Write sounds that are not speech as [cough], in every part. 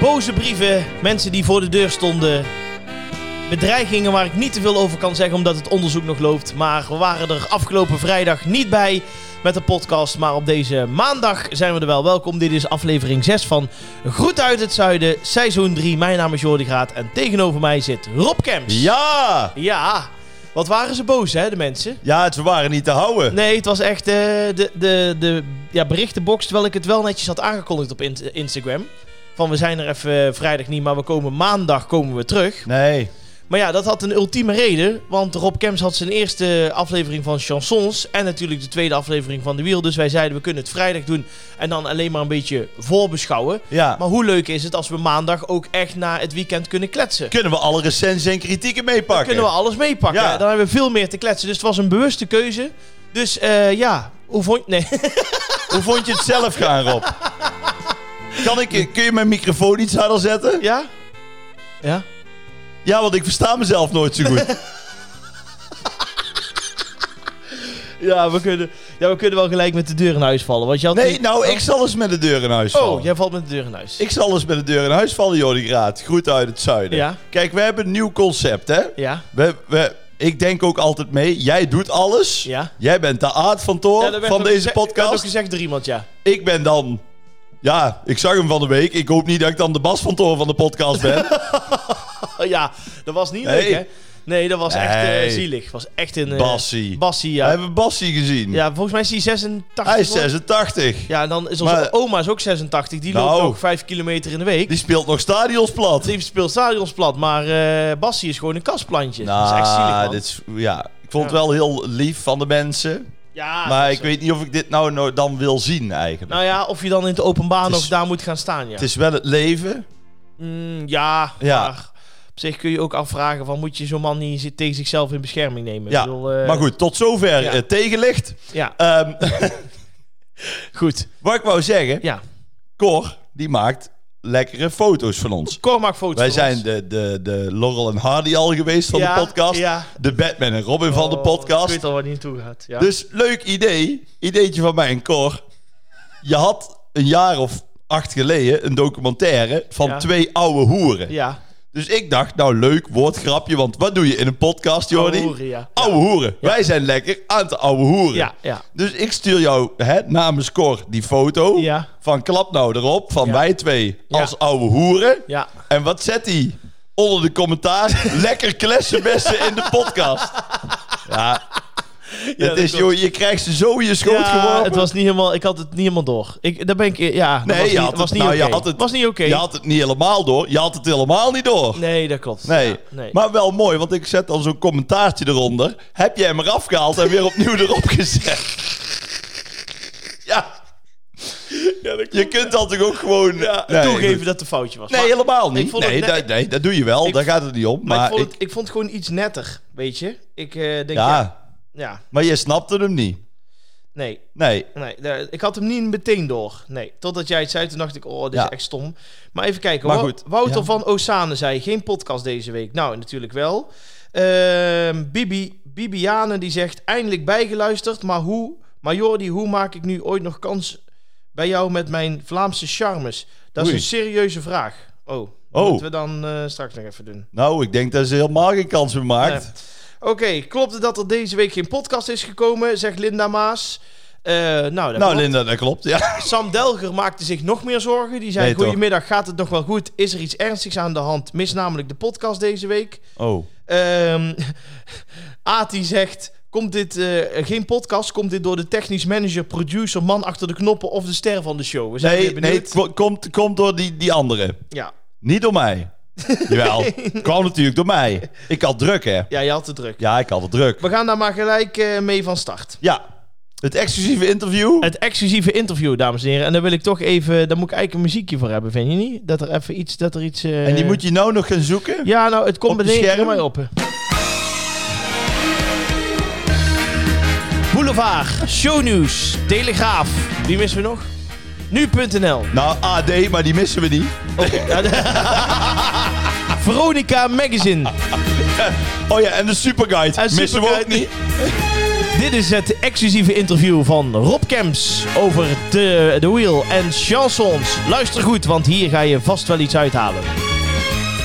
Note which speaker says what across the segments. Speaker 1: Boze brieven, mensen die voor de deur stonden. Bedreigingen waar ik niet te veel over kan zeggen omdat het onderzoek nog loopt. Maar we waren er afgelopen vrijdag niet bij met de podcast. Maar op deze maandag zijn we er wel. Welkom, dit is aflevering 6 van Groet uit het Zuiden, seizoen 3. Mijn naam is Jordi Graat en tegenover mij zit Rob Kemps.
Speaker 2: Ja!
Speaker 1: Ja, wat waren ze boos hè, de mensen?
Speaker 2: Ja, ze waren niet te houden.
Speaker 1: Nee, het was echt eh, de, de, de ja, berichtenbox. Terwijl ik het wel netjes had aangekondigd op in- Instagram. Van we zijn er even eh, vrijdag niet, maar we komen maandag komen we terug.
Speaker 2: Nee.
Speaker 1: Maar ja, dat had een ultieme reden. Want Rob Kems had zijn eerste aflevering van Chansons. En natuurlijk de tweede aflevering van De Wiel. Dus wij zeiden we kunnen het vrijdag doen. En dan alleen maar een beetje voorbeschouwen.
Speaker 2: Ja.
Speaker 1: Maar hoe leuk is het als we maandag ook echt na het weekend kunnen kletsen?
Speaker 2: Kunnen we alle recensies en kritieken meepakken?
Speaker 1: kunnen we alles meepakken.
Speaker 2: Ja.
Speaker 1: Dan hebben we veel meer te kletsen. Dus het was een bewuste keuze. Dus eh, ja, hoe vond je... Nee.
Speaker 2: Hoe vond je het zelf gaan, Rob? Kan ik, kun je mijn microfoon iets harder zetten?
Speaker 1: Ja? Ja?
Speaker 2: Ja, want ik versta mezelf nooit zo goed.
Speaker 1: [laughs] Ja, we kunnen, ja, we kunnen wel gelijk met de deur in huis vallen. Want je had
Speaker 2: Nee, nou, ik zal eens met de deur in huis vallen.
Speaker 1: Oh, jij valt met de deur in huis.
Speaker 2: Ik zal eens met de deur in huis vallen, Jordi Graat. Groet uit het zuiden.
Speaker 1: Ja.
Speaker 2: Kijk, we hebben een nieuw concept, hè?
Speaker 1: Ja.
Speaker 2: We, we, ik denk ook altijd mee, jij doet alles.
Speaker 1: Ja.
Speaker 2: Jij bent de aardfantoor
Speaker 1: Ja, dat werd
Speaker 2: Oh, van
Speaker 1: ook
Speaker 2: deze
Speaker 1: gezegd- werd ook
Speaker 2: podcast.
Speaker 1: gezegd door iemand, ja. [laughs]
Speaker 2: Ik ben dan... Ja, ik zag hem van de week. Ik hoop niet dat ik dan de basfantoor van de podcast
Speaker 1: [laughs]
Speaker 2: ben.
Speaker 1: Oh, ja, dat was niet
Speaker 2: Nee.
Speaker 1: leuk, hè? Nee, dat was echt eh,
Speaker 2: Nee.
Speaker 1: zielig. was echt een... eh,
Speaker 2: Bassie.
Speaker 1: Bassie,
Speaker 2: We
Speaker 1: ja.
Speaker 2: hebben Bassie gezien.
Speaker 1: Ja, volgens mij is hij 86.
Speaker 2: Hij is
Speaker 1: geworden.
Speaker 2: 86.
Speaker 1: Ja, en dan is onze
Speaker 2: Maar-
Speaker 1: oma is ook 86. Die loopt
Speaker 2: Nou.
Speaker 1: ook 5 kilometer in de week.
Speaker 2: Die speelt nog stadions plat.
Speaker 1: Die speelt stadions plat, maar eh Bassie is gewoon een kastplantje. dat is echt zielig,
Speaker 2: Nou,
Speaker 1: man.
Speaker 2: dit is, ja, ik vond het
Speaker 1: Ja.
Speaker 2: wel heel lief van de mensen.
Speaker 1: Ja, dat
Speaker 2: maar
Speaker 1: is
Speaker 2: ik
Speaker 1: zo.
Speaker 2: weet niet of ik dit nou, nou dan wil zien eigenlijk.
Speaker 1: Nou ja, of je dan in het openbaar
Speaker 2: Het is-
Speaker 1: nog daar moet gaan staan, ja.
Speaker 2: Het is wel het leven.
Speaker 1: Mm, ja,
Speaker 2: Ja.
Speaker 1: maar op zich kun je ook afvragen van moet je zo'n man niet zi- tegen zichzelf in bescherming nemen?
Speaker 2: Ja,
Speaker 1: Ik bedoel, eh,
Speaker 2: maar goed, tot zover
Speaker 1: ja.
Speaker 2: eh, tegenlicht.
Speaker 1: Ja,
Speaker 2: Ehm, [laughs]
Speaker 1: goed.
Speaker 2: wat ik wou zeggen,
Speaker 1: Ja,
Speaker 2: Cor, die maakt lekkere foto's van ons.
Speaker 1: Cor maakt foto's
Speaker 2: Wij
Speaker 1: van
Speaker 2: zijn
Speaker 1: ons.
Speaker 2: de, de, de Laurel en Hardy al geweest van
Speaker 1: Ja,
Speaker 2: de podcast.
Speaker 1: ja.
Speaker 2: De Batman en Robin van de
Speaker 1: Oh, Ik
Speaker 2: podcast.
Speaker 1: weet al waar die naartoe gaat. Ja.
Speaker 2: Dus leuk idee. Ideetje van mij en Cor. Je had een jaar of acht geleden een documentaire van
Speaker 1: Ja.
Speaker 2: twee oude hoeren.
Speaker 1: ja.
Speaker 2: Dus ik dacht, nou leuk woordgrapje, want wat doe je in een podcast, Jordi?
Speaker 1: Oude hoeren, ja.
Speaker 2: Oude hoeren. Wij zijn lekker aan de oude hoeren.
Speaker 1: Ja, ja.
Speaker 2: Dus ik stuur jou hè, namens Cor die foto
Speaker 1: Ja.
Speaker 2: van klap nou erop, van
Speaker 1: Ja.
Speaker 2: wij twee
Speaker 1: Ja.
Speaker 2: als oude hoeren.
Speaker 1: Ja.
Speaker 2: En wat zet hij onder de commentaar? [laughs] lekker klessenbessen in de podcast. Ja,
Speaker 1: dat
Speaker 2: het is,
Speaker 1: klopt.
Speaker 2: joh, je krijgt ze zo in je schoot
Speaker 1: Ja,
Speaker 2: geworpen.
Speaker 1: het was niet helemaal, ik had het niet helemaal door. Ik, daar ben ik, ja, dat
Speaker 2: Nee,
Speaker 1: was
Speaker 2: je
Speaker 1: niet,
Speaker 2: had het-
Speaker 1: was niet
Speaker 2: nou, je
Speaker 1: oké.
Speaker 2: had het-
Speaker 1: was niet oké.
Speaker 2: Je had het niet helemaal door. Je had het helemaal niet door.
Speaker 1: Nee, dat klopt.
Speaker 2: Nee.
Speaker 1: Ja, nee.
Speaker 2: maar wel mooi, want ik zet dan zo'n commentaartje eronder. Heb jij hem eraf gehaald en weer opnieuw erop
Speaker 1: [laughs]
Speaker 2: gezet? Ja, je kunt dat toch ook gewoon... Nee,
Speaker 1: Toegeven
Speaker 2: goed.
Speaker 1: dat het een foutje was.
Speaker 2: Nee,
Speaker 1: Maar
Speaker 2: helemaal
Speaker 1: ik
Speaker 2: niet.
Speaker 1: vond het
Speaker 2: Nee,
Speaker 1: net-
Speaker 2: dat, nee, dat doe je wel,
Speaker 1: Ik-
Speaker 2: daar gaat het niet om.
Speaker 1: maar ik,
Speaker 2: Maar,
Speaker 1: vond
Speaker 2: ik,
Speaker 1: het, ik vond het gewoon iets netter, weet je. Ik eh, denk,
Speaker 2: ja,
Speaker 1: ja, ja
Speaker 2: maar je snapte hem niet.
Speaker 1: nee,
Speaker 2: Nee,
Speaker 1: Nee, daar- ik had hem niet meteen door. Nee, totdat jij het zei, toen dacht ik, oh, dit
Speaker 2: Ja.
Speaker 1: is echt stom. Maar even kijken,
Speaker 2: Maar
Speaker 1: Wou-
Speaker 2: goed,
Speaker 1: Wouter
Speaker 2: ja.
Speaker 1: van Osane zei, geen podcast deze week. Nou, natuurlijk wel. Ehm, Bibi, Bibiane die zegt, eindelijk bijgeluisterd, maar hoe... Maar Jordi, hoe maak ik nu ooit nog kans bij jou met mijn Vlaamse charmes? Dat is
Speaker 2: Oei.
Speaker 1: een serieuze vraag. Oh, dat
Speaker 2: Oh.
Speaker 1: moeten we dan eh, straks nog even doen. Eh,
Speaker 2: nou, ik denk dat ze helemaal geen kans meer maakt.
Speaker 1: Oké, klopt het dat er deze week geen podcast is gekomen, zegt Linda Maas. Eh, nou, dat
Speaker 2: nou,
Speaker 1: klopt.
Speaker 2: Linda, dat klopt. Ja.
Speaker 1: Sam Delger maakte zich nog meer zorgen. Die zei:
Speaker 2: Nee, toch?
Speaker 1: Goedemiddag, gaat het nog wel goed? Is er iets ernstigs aan de hand? Mis namelijk de podcast deze week.
Speaker 2: Oh.
Speaker 1: Ehm [laughs] Ati zegt: Komt dit eh, geen podcast? Komt dit door de technisch manager, producer, man achter de knoppen of de ster van de show? We zijn
Speaker 2: Nee,
Speaker 1: weer
Speaker 2: nee
Speaker 1: benieuwd.
Speaker 2: het ko- komt, komt door die, die andere.
Speaker 1: ja.
Speaker 2: Niet door mij.
Speaker 1: [laughs]
Speaker 2: Jawel, het kwam natuurlijk door mij. Ik had druk, hè?
Speaker 1: ja, je had te druk.
Speaker 2: Ja, ik had het druk.
Speaker 1: We gaan daar maar gelijk eh, mee van start.
Speaker 2: Ja, het exclusieve interview.
Speaker 1: Het exclusieve interview, dames en heren. En daar wil ik toch even. Daar moet ik eigenlijk een muziekje voor hebben, vind je niet? Dat er even iets. Dat er iets eh,
Speaker 2: En die moet je nou nog gaan zoeken.
Speaker 1: Ja, nou, het komt
Speaker 2: Op je
Speaker 1: beneden
Speaker 2: scherm?
Speaker 1: mij op. Boulevard, shownieuws, Telegraaf. Wie missen we nog? Nu.nl.
Speaker 2: Nou, AD, maar die missen we niet.
Speaker 1: Oh, Veronica Magazine.
Speaker 2: [laughs] Oh ja, en de Superguide.
Speaker 1: En
Speaker 2: missen we ook
Speaker 1: Superguide.
Speaker 2: niet.
Speaker 1: [laughs] Dit is het exclusieve interview van Rob Kemps over de, de Wheel en chansons. Luister goed, want hier ga je vast wel iets uithalen.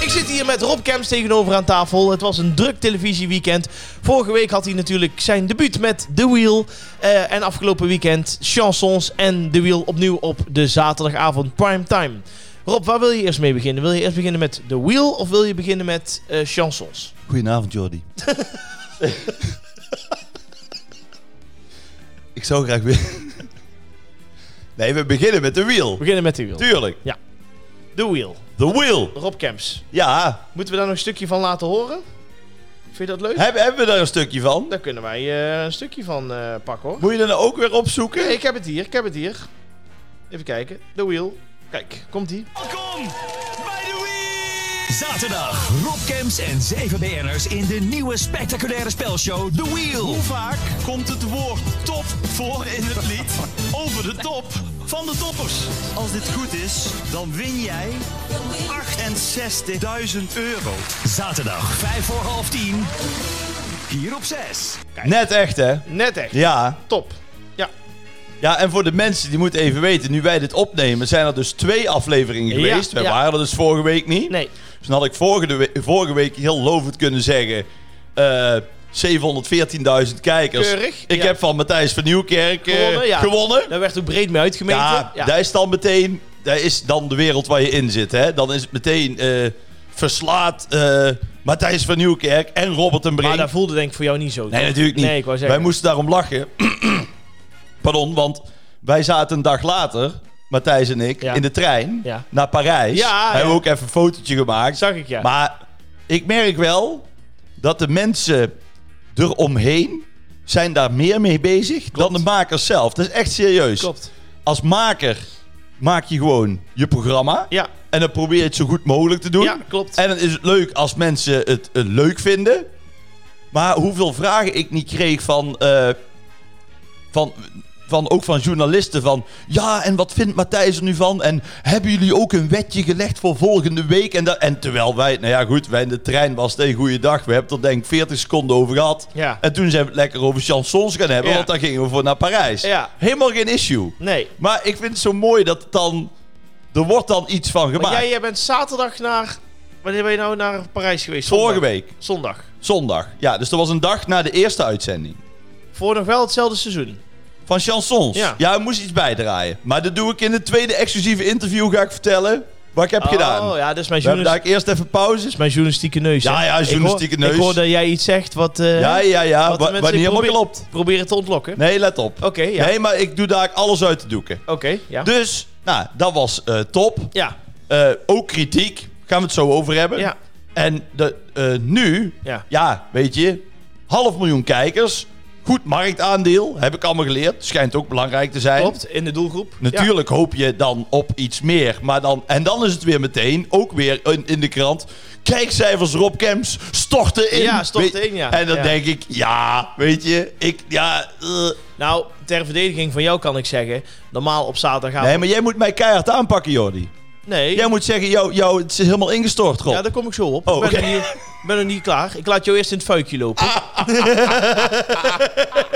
Speaker 1: Ik zit hier met Rob Kemps tegenover aan tafel. Het was een druk televisieweekend. Vorige week had hij natuurlijk zijn debuut met The Wheel. eh, en afgelopen weekend chansons en The Wheel opnieuw op de zaterdagavond primetime. Rob, waar wil je eerst mee beginnen? Wil je eerst beginnen met The Wheel of wil je beginnen met eh, chansons? [laughs]
Speaker 2: Goedenavond, Jordi. ik zou graag weer... Nee, we beginnen met de wheel.
Speaker 1: We beginnen met The Wheel.
Speaker 2: Tuurlijk.
Speaker 1: The Wheel,
Speaker 2: The wheel.
Speaker 1: Rob Kemps.
Speaker 2: Ja.
Speaker 1: Moeten we daar nog een stukje van laten horen? Vind je dat leuk?
Speaker 2: Heb, hebben we daar een stukje van?
Speaker 1: Daar kunnen wij eh, een stukje van eh, pakken hoor.
Speaker 2: Moet je dat nou ook weer opzoeken?
Speaker 1: Nee, ik heb het hier, ik heb het hier. Even kijken. The Wheel. Kijk, komt ie.
Speaker 3: Welkom bij de Wheel! Zaterdag, Rob Camps en 7 BN'ers in de nieuwe spectaculaire spelshow The Wheel. Hoe vaak komt het woord top voor in het lied over de top van de toppers? Als dit goed is, dan win jij 68.000 euro. Zaterdag, 5 voor half 10, hier op 6.
Speaker 2: Net echt, hè?
Speaker 1: Net echt.
Speaker 2: Ja.
Speaker 1: Top.
Speaker 2: Ja, en voor de mensen die moeten even weten, nu wij dit opnemen, zijn er dus twee afleveringen
Speaker 1: Ja,
Speaker 2: geweest. Wij
Speaker 1: ja.
Speaker 2: waren er dus vorige week niet.
Speaker 1: Nee.
Speaker 2: Dus dan had ik vorige, de we- vorige week heel lovend kunnen zeggen. eh, 714.000 kijkers.
Speaker 1: Keurig,
Speaker 2: Ik
Speaker 1: ja.
Speaker 2: heb van Matthijs van Nieuwkerk eh,
Speaker 1: Gewonnen, ja.
Speaker 2: gewonnen.
Speaker 1: Daar werd ook breed mee uitgemeten.
Speaker 2: Ja, daar is dan meteen. Daar is dan de wereld waar je in zit. Hè? Dan is het meteen eh, verslaat eh, Matthijs van Nieuwkerk en Robert en Brink.
Speaker 1: Maar dat voelde denk ik voor jou niet zo.
Speaker 2: Nee,
Speaker 1: toch?
Speaker 2: natuurlijk niet.
Speaker 1: Nee, ik wou zeggen.
Speaker 2: wij moesten daarom lachen. [clears throat] Pardon, want wij zaten een dag later, Matthijs en ik,
Speaker 1: Ja.
Speaker 2: in de trein
Speaker 1: Ja.
Speaker 2: naar Parijs.
Speaker 1: Ja, ja.
Speaker 2: Hebben we ook even een fotootje gemaakt.
Speaker 1: Zag ik, ja.
Speaker 2: Maar ik merk wel dat de mensen eromheen zijn daar meer mee bezig dan de makers zelf. Dat is echt serieus.
Speaker 1: Klopt.
Speaker 2: Als maker maak je gewoon je programma.
Speaker 1: Ja.
Speaker 2: En dan probeer je het zo goed mogelijk te doen.
Speaker 1: Ja, klopt.
Speaker 2: En dan is het leuk als mensen het eh, leuk vinden. Maar hoeveel vragen ik niet kreeg van, eh, van, van ook van journalisten van... Ja, en wat vindt Matthijs er nu van? En hebben jullie ook een wetje gelegd voor volgende week? En, dat, en terwijl wij, nou ja goed, wij in de trein was het een goede dag. We hebben het er denk ik 40 seconden over gehad.
Speaker 1: Ja.
Speaker 2: En toen zijn we het lekker over chansons gaan hebben,
Speaker 1: Ja.
Speaker 2: want daar gingen we voor naar Parijs.
Speaker 1: Ja.
Speaker 2: Helemaal geen issue.
Speaker 1: Nee.
Speaker 2: Maar ik vind het zo mooi dat het dan... Er wordt dan iets van
Speaker 1: Maar
Speaker 2: gemaakt.
Speaker 1: jij, jij bent zaterdag naar... Wanneer ben je nou naar Parijs geweest? Zondag.
Speaker 2: Vorige week,
Speaker 1: Zondag.
Speaker 2: zondag. Ja, dus dat was een dag na de eerste uitzending.
Speaker 1: Voor nog wel hetzelfde seizoen.
Speaker 2: Van chansons.
Speaker 1: Ja.
Speaker 2: Ja, er moest iets bijdraaien. Maar dat doe ik in het tweede exclusieve interview. Ga ik vertellen wat ik heb gedaan.
Speaker 1: Oh ja, dat is mijn,
Speaker 2: We hebben
Speaker 1: journalis-
Speaker 2: daar eerst even pauzes.
Speaker 1: mijn journalistieke neus. hè?
Speaker 2: Ja, ja,
Speaker 1: Ik hoor-
Speaker 2: journalistieke
Speaker 1: ik
Speaker 2: neus.
Speaker 1: hoor dat jij iets zegt wat... eh,
Speaker 2: Ja, ja, ja.
Speaker 1: wat
Speaker 2: Wat,
Speaker 1: de
Speaker 2: wat
Speaker 1: mensen
Speaker 2: niet helemaal
Speaker 1: proberen-
Speaker 2: klopt.
Speaker 1: Proberen te ontlokken.
Speaker 2: Nee, let op.
Speaker 1: Oké, ja.
Speaker 2: Nee, maar ik doe daar alles uit te doeken.
Speaker 1: Oké, ja.
Speaker 2: Dus, nou, dat was eh, top.
Speaker 1: Ja,
Speaker 2: Eh, ook kritiek. Gaan we het zo over hebben.
Speaker 1: ja,
Speaker 2: En de, eh, nu,
Speaker 1: ja.
Speaker 2: ja, weet je, half miljoen kijkers. Goed marktaandeel, heb ik allemaal geleerd. Schijnt ook belangrijk te zijn.
Speaker 1: Klopt, in de doelgroep.
Speaker 2: Natuurlijk hoop je dan op iets meer. Maar dan, en dan is het weer meteen, ook weer in, in de krant. Kijkcijfers Rob Kemps storten in.
Speaker 1: Ja, storten
Speaker 2: Weet-
Speaker 1: in, ja.
Speaker 2: En dan
Speaker 1: Ja.
Speaker 2: denk ik, ja, weet je, ik, ja. eh.
Speaker 1: Ja. Nou, ter verdediging van jou kan ik zeggen... Normaal op zaterdagavond...
Speaker 2: Nee, maar jij moet mij keihard aanpakken, Jordi.
Speaker 1: Nee.
Speaker 2: Jij moet zeggen, jou, jou, het is helemaal ingestort, Rob.
Speaker 1: ja, daar kom ik zo op.
Speaker 2: Oh,
Speaker 1: ik ben,
Speaker 2: oké.
Speaker 1: nog
Speaker 2: Ah.
Speaker 1: niet, ben nog niet klaar. Ik laat jou eerst in het fuikje lopen. [laughs]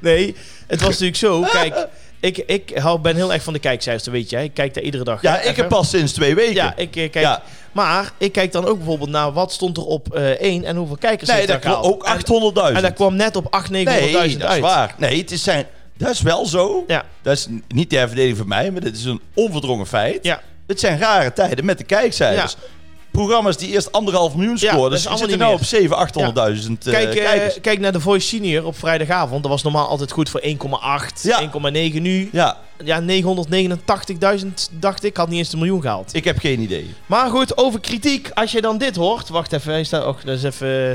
Speaker 1: nee, het was natuurlijk zo. Kijk, ik, ik hou- ben heel erg van de kijkcijfers, dat weet jij. Ik kijk daar iedere dag.
Speaker 2: ja,
Speaker 1: hè,
Speaker 2: ik
Speaker 1: even.
Speaker 2: heb pas sinds twee weken.
Speaker 1: Ja, ik eh, kijk...
Speaker 2: Ja.
Speaker 1: Maar ik kijk dan ook bijvoorbeeld naar wat stond er op eh 1 en hoeveel kijkers
Speaker 2: nee,
Speaker 1: heeft
Speaker 2: dat
Speaker 1: dat
Speaker 2: klopt.
Speaker 1: gehaald.
Speaker 2: Ook
Speaker 1: En-
Speaker 2: 800.000.
Speaker 1: En dat kwam net op 8 900.000
Speaker 2: Nee, dat is
Speaker 1: uit.
Speaker 2: waar. Nee, het is zijn, dat is wel zo.
Speaker 1: Ja.
Speaker 2: Dat is n- niet ter verdediging van mij, maar dit is een onverdrongen feit.
Speaker 1: Ja.
Speaker 2: Het zijn rare tijden met de kijkcijfers.
Speaker 1: Ja.
Speaker 2: Programma's die eerst anderhalf miljoen
Speaker 1: Ja, dat
Speaker 2: scoorden,
Speaker 1: is
Speaker 2: ze
Speaker 1: allemaal
Speaker 2: zitten
Speaker 1: niet
Speaker 2: nou op 7, 800.000 eh,
Speaker 1: Kijk, eh,
Speaker 2: kijkers.
Speaker 1: kijk naar de Voice Senior op vrijdagavond. Dat was normaal altijd goed voor 1,8,
Speaker 2: Ja.
Speaker 1: 1,9 nu.
Speaker 2: Ja,
Speaker 1: Ja, 989.000 dacht ik. Had niet eens de miljoen gehaald.
Speaker 2: ik heb geen idee.
Speaker 1: Maar goed, over kritiek. Als je dan dit hoort... Wacht even, hij staat... Och, dat is even...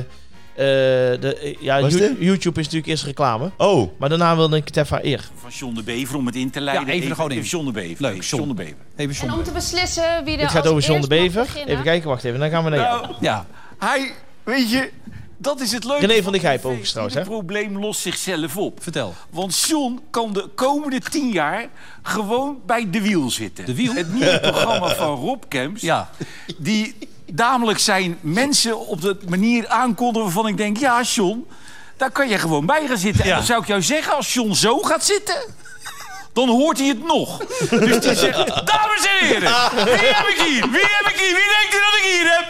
Speaker 1: eh, de, ja,
Speaker 2: Wat is
Speaker 1: You-
Speaker 2: dit?
Speaker 1: YouTube is natuurlijk eerst reclame.
Speaker 2: Oh,
Speaker 1: Maar daarna wilde ik het even eer.
Speaker 4: van John de Bever om het in te leiden.
Speaker 5: Ja, even de godin.
Speaker 4: John de Bever.
Speaker 5: Leuk,
Speaker 4: Even
Speaker 5: John.
Speaker 4: de Bever.
Speaker 5: Even
Speaker 6: En om
Speaker 5: zonder.
Speaker 6: te beslissen wie er
Speaker 1: Het gaat
Speaker 6: als
Speaker 1: over John de
Speaker 6: eerst mag
Speaker 1: Bever.
Speaker 6: beginnen.
Speaker 1: Even kijken, wacht even. Dan gaan we naar jou.
Speaker 5: Ja.
Speaker 4: Hij, weet je, dat is het leuke.
Speaker 1: René van der
Speaker 4: de
Speaker 1: Gijp overigens trouwens,
Speaker 4: Het
Speaker 1: hè?
Speaker 4: probleem lost zichzelf op.
Speaker 5: Vertel.
Speaker 4: Want John kan de komende tien jaar gewoon bij De Wiel zitten.
Speaker 5: De Wiel?
Speaker 4: Het nieuwe programma
Speaker 5: [laughs]
Speaker 4: van Rob Kemps.
Speaker 5: Ja.
Speaker 4: Die namelijk zijn mensen op de manier aankondigen waarvan ik denk... Ja, John, Daar kan je gewoon bij gaan zitten.
Speaker 1: Ja.
Speaker 4: En dan zou ik jou zeggen, als John zo gaat zitten... Dan hoort hij het nog. Dus die zegt, dames en heren, wie heb ik hier? Wie heb ik hier? Wie denkt u dat ik hier heb?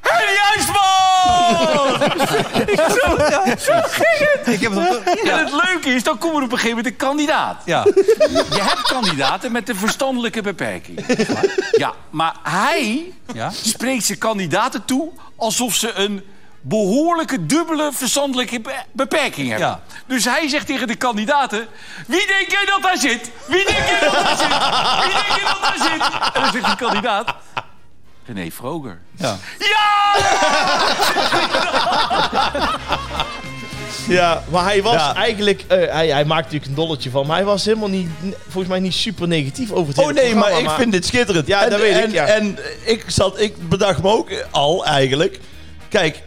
Speaker 4: Henny Huisman!
Speaker 5: Ik heb het [laughs] op-
Speaker 4: En het leuke is, dan komt er op een gegeven moment een kandidaat.
Speaker 5: Ja.
Speaker 4: Je hebt kandidaten met een verstandelijke beperking. Ja, maar hij
Speaker 5: Ja?
Speaker 4: spreekt zijn kandidaten toe alsof ze een behoorlijke dubbele verstandelijke be- beperking hebben.
Speaker 5: Ja.
Speaker 4: Dus hij zegt tegen de kandidaten... Wie denk jij dat daar zit? Wie denk jij dat daar zit? Wie denk jij dat daar zit? En dan zegt die kandidaat... René Vroger.
Speaker 5: Ja.
Speaker 4: Ja!
Speaker 1: Ja, maar hij was
Speaker 2: Ja.
Speaker 1: eigenlijk... eh, hij, hij maakt natuurlijk een dolletje van, maar hij was helemaal niet... Volgens mij niet super negatief over het
Speaker 2: Oh
Speaker 1: hele
Speaker 2: nee, maar
Speaker 1: programma,
Speaker 2: ik vind dit schitterend.
Speaker 1: Ja,
Speaker 2: en,
Speaker 1: dat weet ik,
Speaker 2: en-
Speaker 1: ja.
Speaker 2: En ik, zat, ik bedacht me ook al eigenlijk... Kijk,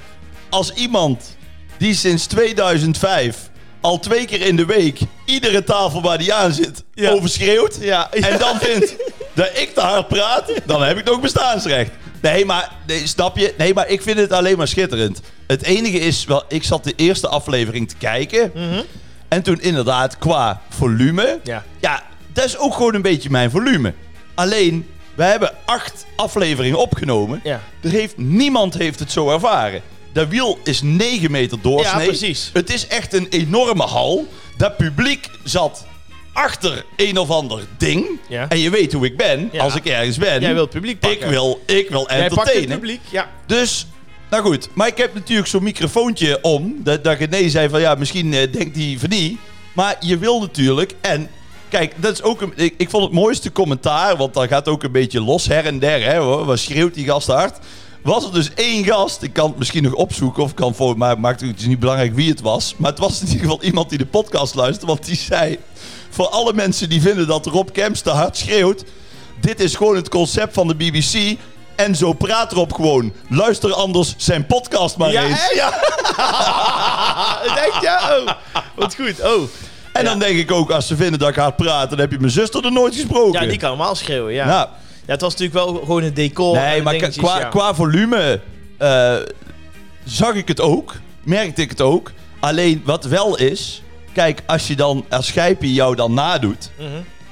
Speaker 2: als iemand die sinds 2005 al twee keer in de week... iedere tafel waar die aan zit
Speaker 1: Ja.
Speaker 2: overschreeuwt...
Speaker 1: Ja, ja.
Speaker 2: en dan vindt dat ik te hard praat... dan heb ik nog bestaansrecht. Nee, maar nee, snap je? Nee, maar ik vind het alleen maar schitterend. Het enige is wel... Ik zat de eerste aflevering te kijken...
Speaker 1: Hmm.
Speaker 2: En toen inderdaad, qua volume...
Speaker 1: Ja.
Speaker 2: Ja, dat is ook gewoon een beetje mijn volume. Alleen, we hebben acht afleveringen opgenomen.
Speaker 1: Ja.
Speaker 2: Er heeft, niemand heeft het zo ervaren. Dat wiel is 9 meter doorsnee.
Speaker 1: Ja, precies.
Speaker 2: Het is echt een enorme hal. Dat publiek zat achter een of ander ding.
Speaker 1: Ja.
Speaker 2: En je weet hoe ik ben
Speaker 1: Ja.
Speaker 2: als ik ergens ben.
Speaker 1: Jij wil het publiek pakken.
Speaker 2: Ik wil, ik wil
Speaker 1: Jij pakt het
Speaker 2: entertainen.
Speaker 1: publiek, ja.
Speaker 2: Dus, nou goed. Maar ik heb natuurlijk zo'n microfoontje om. Dat, dat ik nee zei van, ja, misschien eh, denkt hij van niet. Maar je wil natuurlijk. En kijk, dat is ook een, ik, ik vond het mooiste commentaar. Want dat gaat ook een beetje los her en der. Hè, hoor. Wat schreeuwt die gast hard? Was er dus één gast, ik kan het misschien nog opzoeken of ik kan voor, maar maakt het het is niet belangrijk wie het was. Maar het was in ieder geval iemand die de podcast luistert, want die zei: Voor alle mensen die vinden dat Rob Kemps te hard schreeuwt, dit is gewoon het concept van de BBC. En zo praat Rob gewoon. Luister anders zijn podcast maar
Speaker 1: Ja, [laughs]
Speaker 2: eens.
Speaker 1: echt?
Speaker 2: Ja.
Speaker 1: Denk ja, oh. Wat goed, oh.
Speaker 2: En dan denk ik ook, als ze vinden dat ik hard praat, dan heb je mijn zuster er nooit gesproken. Nou,
Speaker 1: Ja, die kan normaal schreeuwen, ja.
Speaker 2: Ja.
Speaker 1: Ja, het was natuurlijk wel gewoon een decor. en
Speaker 2: Nee, maar
Speaker 1: dingetjes,
Speaker 2: qua,
Speaker 1: ja.
Speaker 2: qua volume eh, zag ik het ook. Merkte ik het ook. Alleen wat wel is, kijk, als je dan, als Schijpie jou dan nadoet.
Speaker 1: Mhm.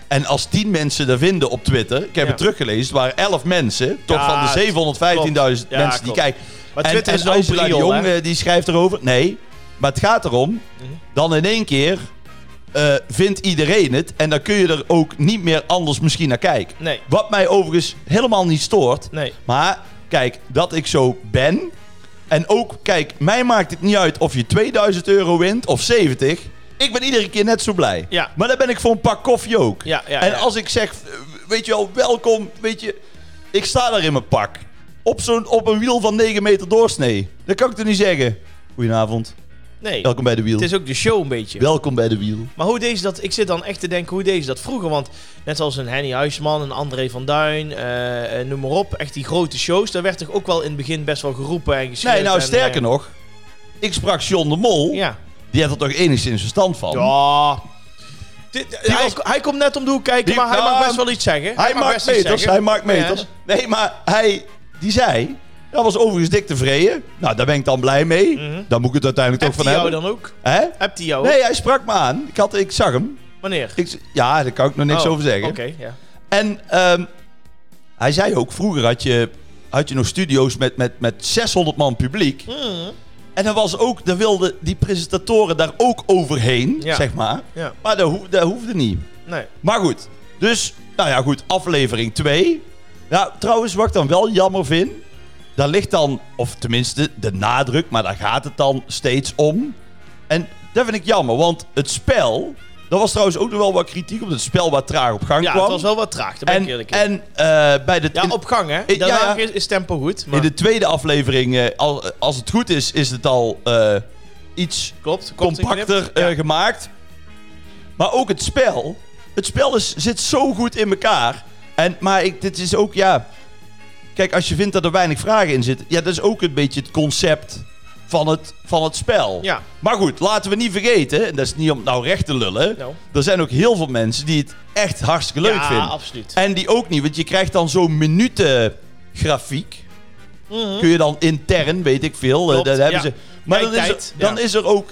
Speaker 2: En als 10 mensen dat vinden op Twitter, ik heb
Speaker 1: Ja.
Speaker 2: het teruggelezen, het waren 11 mensen. Toch
Speaker 1: Ja,
Speaker 2: van de 715.000 mensen
Speaker 1: klopt. Ja,
Speaker 2: die
Speaker 1: klopt.
Speaker 2: kijken.
Speaker 1: Maar
Speaker 2: en
Speaker 1: Twitter
Speaker 2: en
Speaker 1: is een open
Speaker 2: Angela de
Speaker 1: riool,
Speaker 2: Jong
Speaker 1: hè? Mhm.
Speaker 2: eh, die schrijft erover. Nee, maar het gaat erom. Dan in één keer eh, vindt iedereen het. En dan kun je er ook niet meer anders misschien naar kijken.
Speaker 1: Nee.
Speaker 2: Wat mij overigens helemaal niet stoort.
Speaker 1: Nee.
Speaker 2: Maar kijk, dat ik zo ben. En ook, kijk, mij maakt het niet uit of je 2000 euro wint of 70. Ik ben iedere keer net zo blij.
Speaker 1: Ja.
Speaker 2: Maar dan ben ik voor een pak koffie ook.
Speaker 1: Ja, ja,
Speaker 2: en
Speaker 1: ja.
Speaker 2: als ik zeg, eh, weet je wel, welkom, weet je, ik sta daar in mijn pak. Op, zo'n, op een wiel van 9 meter doorsnee. Dan kan ik er niet zeggen. Goedenavond,
Speaker 1: Nee,
Speaker 2: welkom bij de wiel.
Speaker 1: het is ook de show een beetje.
Speaker 2: Welkom bij de wiel.
Speaker 1: Maar hoe deze dat, ik zit dan echt te denken hoe deze dat vroeger. Want net als een Henny Huisman, een André van Duin, eh, eh, noem maar op. Echt die grote shows. Daar werd toch ook wel in het begin best wel geroepen en geschreven.
Speaker 2: Nee, nou sterker nog, ik sprak John de Mol.
Speaker 1: eh, Ja.
Speaker 2: Die had er toch enigszins verstand van.
Speaker 1: Ja. Dit- eh, hij,
Speaker 2: was-
Speaker 1: hij komt net om de hoek kijken,
Speaker 2: Die-
Speaker 1: maar hij
Speaker 2: nou,
Speaker 1: mag best wel iets zeggen.
Speaker 2: Hij maakt
Speaker 1: best iets
Speaker 2: meters,
Speaker 1: zeggen.
Speaker 2: hij maakt
Speaker 1: Ja.
Speaker 2: meters. Nee, maar hij, die zei, dat was overigens dik tevreden. Nou, daar ben ik dan blij mee. Daar moet ik het uiteindelijk
Speaker 1: Mhm. Hebt
Speaker 2: toch
Speaker 1: hij jou
Speaker 2: van hebben.
Speaker 1: dan ook?
Speaker 2: Hè?
Speaker 1: Hebt hij jou?
Speaker 2: Nee, hij sprak me aan. Ik, had, ik zag hem.
Speaker 1: Wanneer?
Speaker 2: Ik, z- ja, daar kan ik nog niks
Speaker 1: Oh,
Speaker 2: over zeggen.
Speaker 1: Oké, ja.
Speaker 2: En ehm, hij zei ook, vroeger had je, had je nog studio's met, met, met 600 man publiek.
Speaker 1: Mhm.
Speaker 2: En dan was ook, daar wilden die presentatoren daar ook overheen,
Speaker 1: Ja.
Speaker 2: zeg maar.
Speaker 1: Ja.
Speaker 2: Maar dat, hoe- dat hoefde niet.
Speaker 1: Nee.
Speaker 2: Maar goed, dus, nou ja, goed, aflevering 2. Ja, trouwens, wat ik dan wel jammer vind, daar ligt dan, of tenminste de nadruk, maar daar gaat het dan steeds om. En dat vind ik jammer, want het spel, daar was trouwens ook nog wel wat kritiek op, dat het spel wat traag op gang
Speaker 1: Ja,
Speaker 2: kwam.
Speaker 1: het was wel wat traag, daar ben ik
Speaker 2: en
Speaker 1: eerlijk in.
Speaker 2: en eh, bij de,
Speaker 1: ja,
Speaker 2: in-
Speaker 1: op gang, hè?
Speaker 2: ja,
Speaker 1: Daarna
Speaker 2: ja.
Speaker 1: is- is tempo goed,
Speaker 2: in
Speaker 1: maar
Speaker 2: de tweede aflevering, eh, al- als het goed is, is het al eh, iets
Speaker 1: klopt. komt een knip.
Speaker 2: compacter eh, gemaakt. Maar ook het spel. Het spel is, zit zo goed in elkaar. En, maar ik, dit is ook, ja... Kijk, als je vindt dat er weinig vragen in zitten... Ja, dat is ook een beetje het concept van het, van het spel.
Speaker 1: Ja.
Speaker 2: Maar goed, laten we niet vergeten... En dat is niet om het nou recht te lullen...
Speaker 1: Nou.
Speaker 2: Er zijn ook heel veel mensen die het echt hartstikke leuk
Speaker 1: ja,
Speaker 2: vinden.
Speaker 1: absoluut.
Speaker 2: En die ook niet, want je krijgt dan zo'n minutengrafiek. Kun je dan intern, weet ik veel, eh,
Speaker 1: Mhm. Klopt,
Speaker 2: dat hebben
Speaker 1: ja.
Speaker 2: ze. Maar dan is, er,
Speaker 1: Kijktijd, ja.
Speaker 2: dan is er ook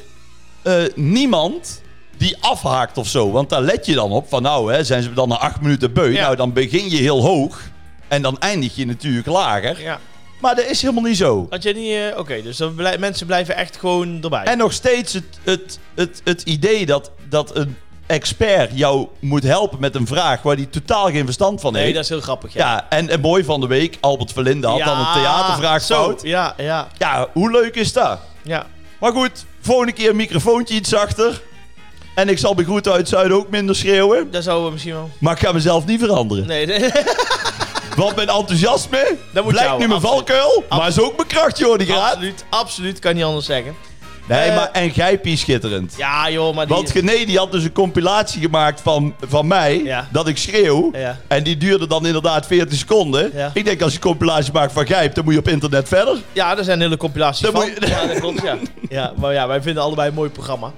Speaker 2: eh, niemand die afhaakt of zo. Want daar let je dan op. Van nou, hè, zijn ze dan na acht minuten beu.
Speaker 1: Ja.
Speaker 2: Nou, dan begin je heel hoog. En dan eindig je natuurlijk lager.
Speaker 1: Ja.
Speaker 2: Maar dat is helemaal niet zo.
Speaker 1: Had jij niet... eh, Oké, dus dan blij- mensen blijven echt gewoon erbij.
Speaker 2: En nog steeds het, het, het, het idee dat, dat een expert jou moet helpen met een vraag waar hij totaal geen verstand van
Speaker 1: nee,
Speaker 2: heeft.
Speaker 1: dat is heel grappig. Ja,
Speaker 2: Ja, en het mooi van de week, Albert Verlinde had
Speaker 1: Ja,
Speaker 2: dan een theatervraag
Speaker 1: zo.
Speaker 2: fout.
Speaker 1: Ja, ja,
Speaker 2: Ja, hoe leuk is dat?
Speaker 1: ja.
Speaker 2: Maar goed, volgende keer een microfoontje iets zachter. En ik zal bij groeten uit het zuiden ook minder schreeuwen.
Speaker 1: Dat zouden we misschien wel...
Speaker 2: Maar ik ga mezelf niet veranderen.
Speaker 1: Nee, [laughs] nee.
Speaker 2: Want mijn enthousiasme
Speaker 1: Dat moet
Speaker 2: blijkt
Speaker 1: jou,
Speaker 2: nu mijn
Speaker 1: absoluut.
Speaker 2: valkuil. Maar is ook mijn kracht, joh, die graad.
Speaker 1: absoluut, absoluut. Kan niet anders zeggen.
Speaker 2: Nee,
Speaker 1: Eh.
Speaker 2: maar en Gijpie is schitterend.
Speaker 1: Ja, joh, maar die...
Speaker 2: Want Gené die had dus een compilatie gemaakt van, van mij,
Speaker 1: Ja.
Speaker 2: dat ik schreeuw.
Speaker 1: Ja.
Speaker 2: En die duurde dan inderdaad 40 seconden.
Speaker 1: Ja.
Speaker 2: Ik denk, als je een compilatie maakt van Gijp, dan moet je op internet verder.
Speaker 1: Ja, er zijn hele compilaties
Speaker 2: Dan
Speaker 1: van.
Speaker 2: moet je-
Speaker 1: Ja, dat klopt, ja. ja. Maar ja, wij vinden allebei een mooi programma.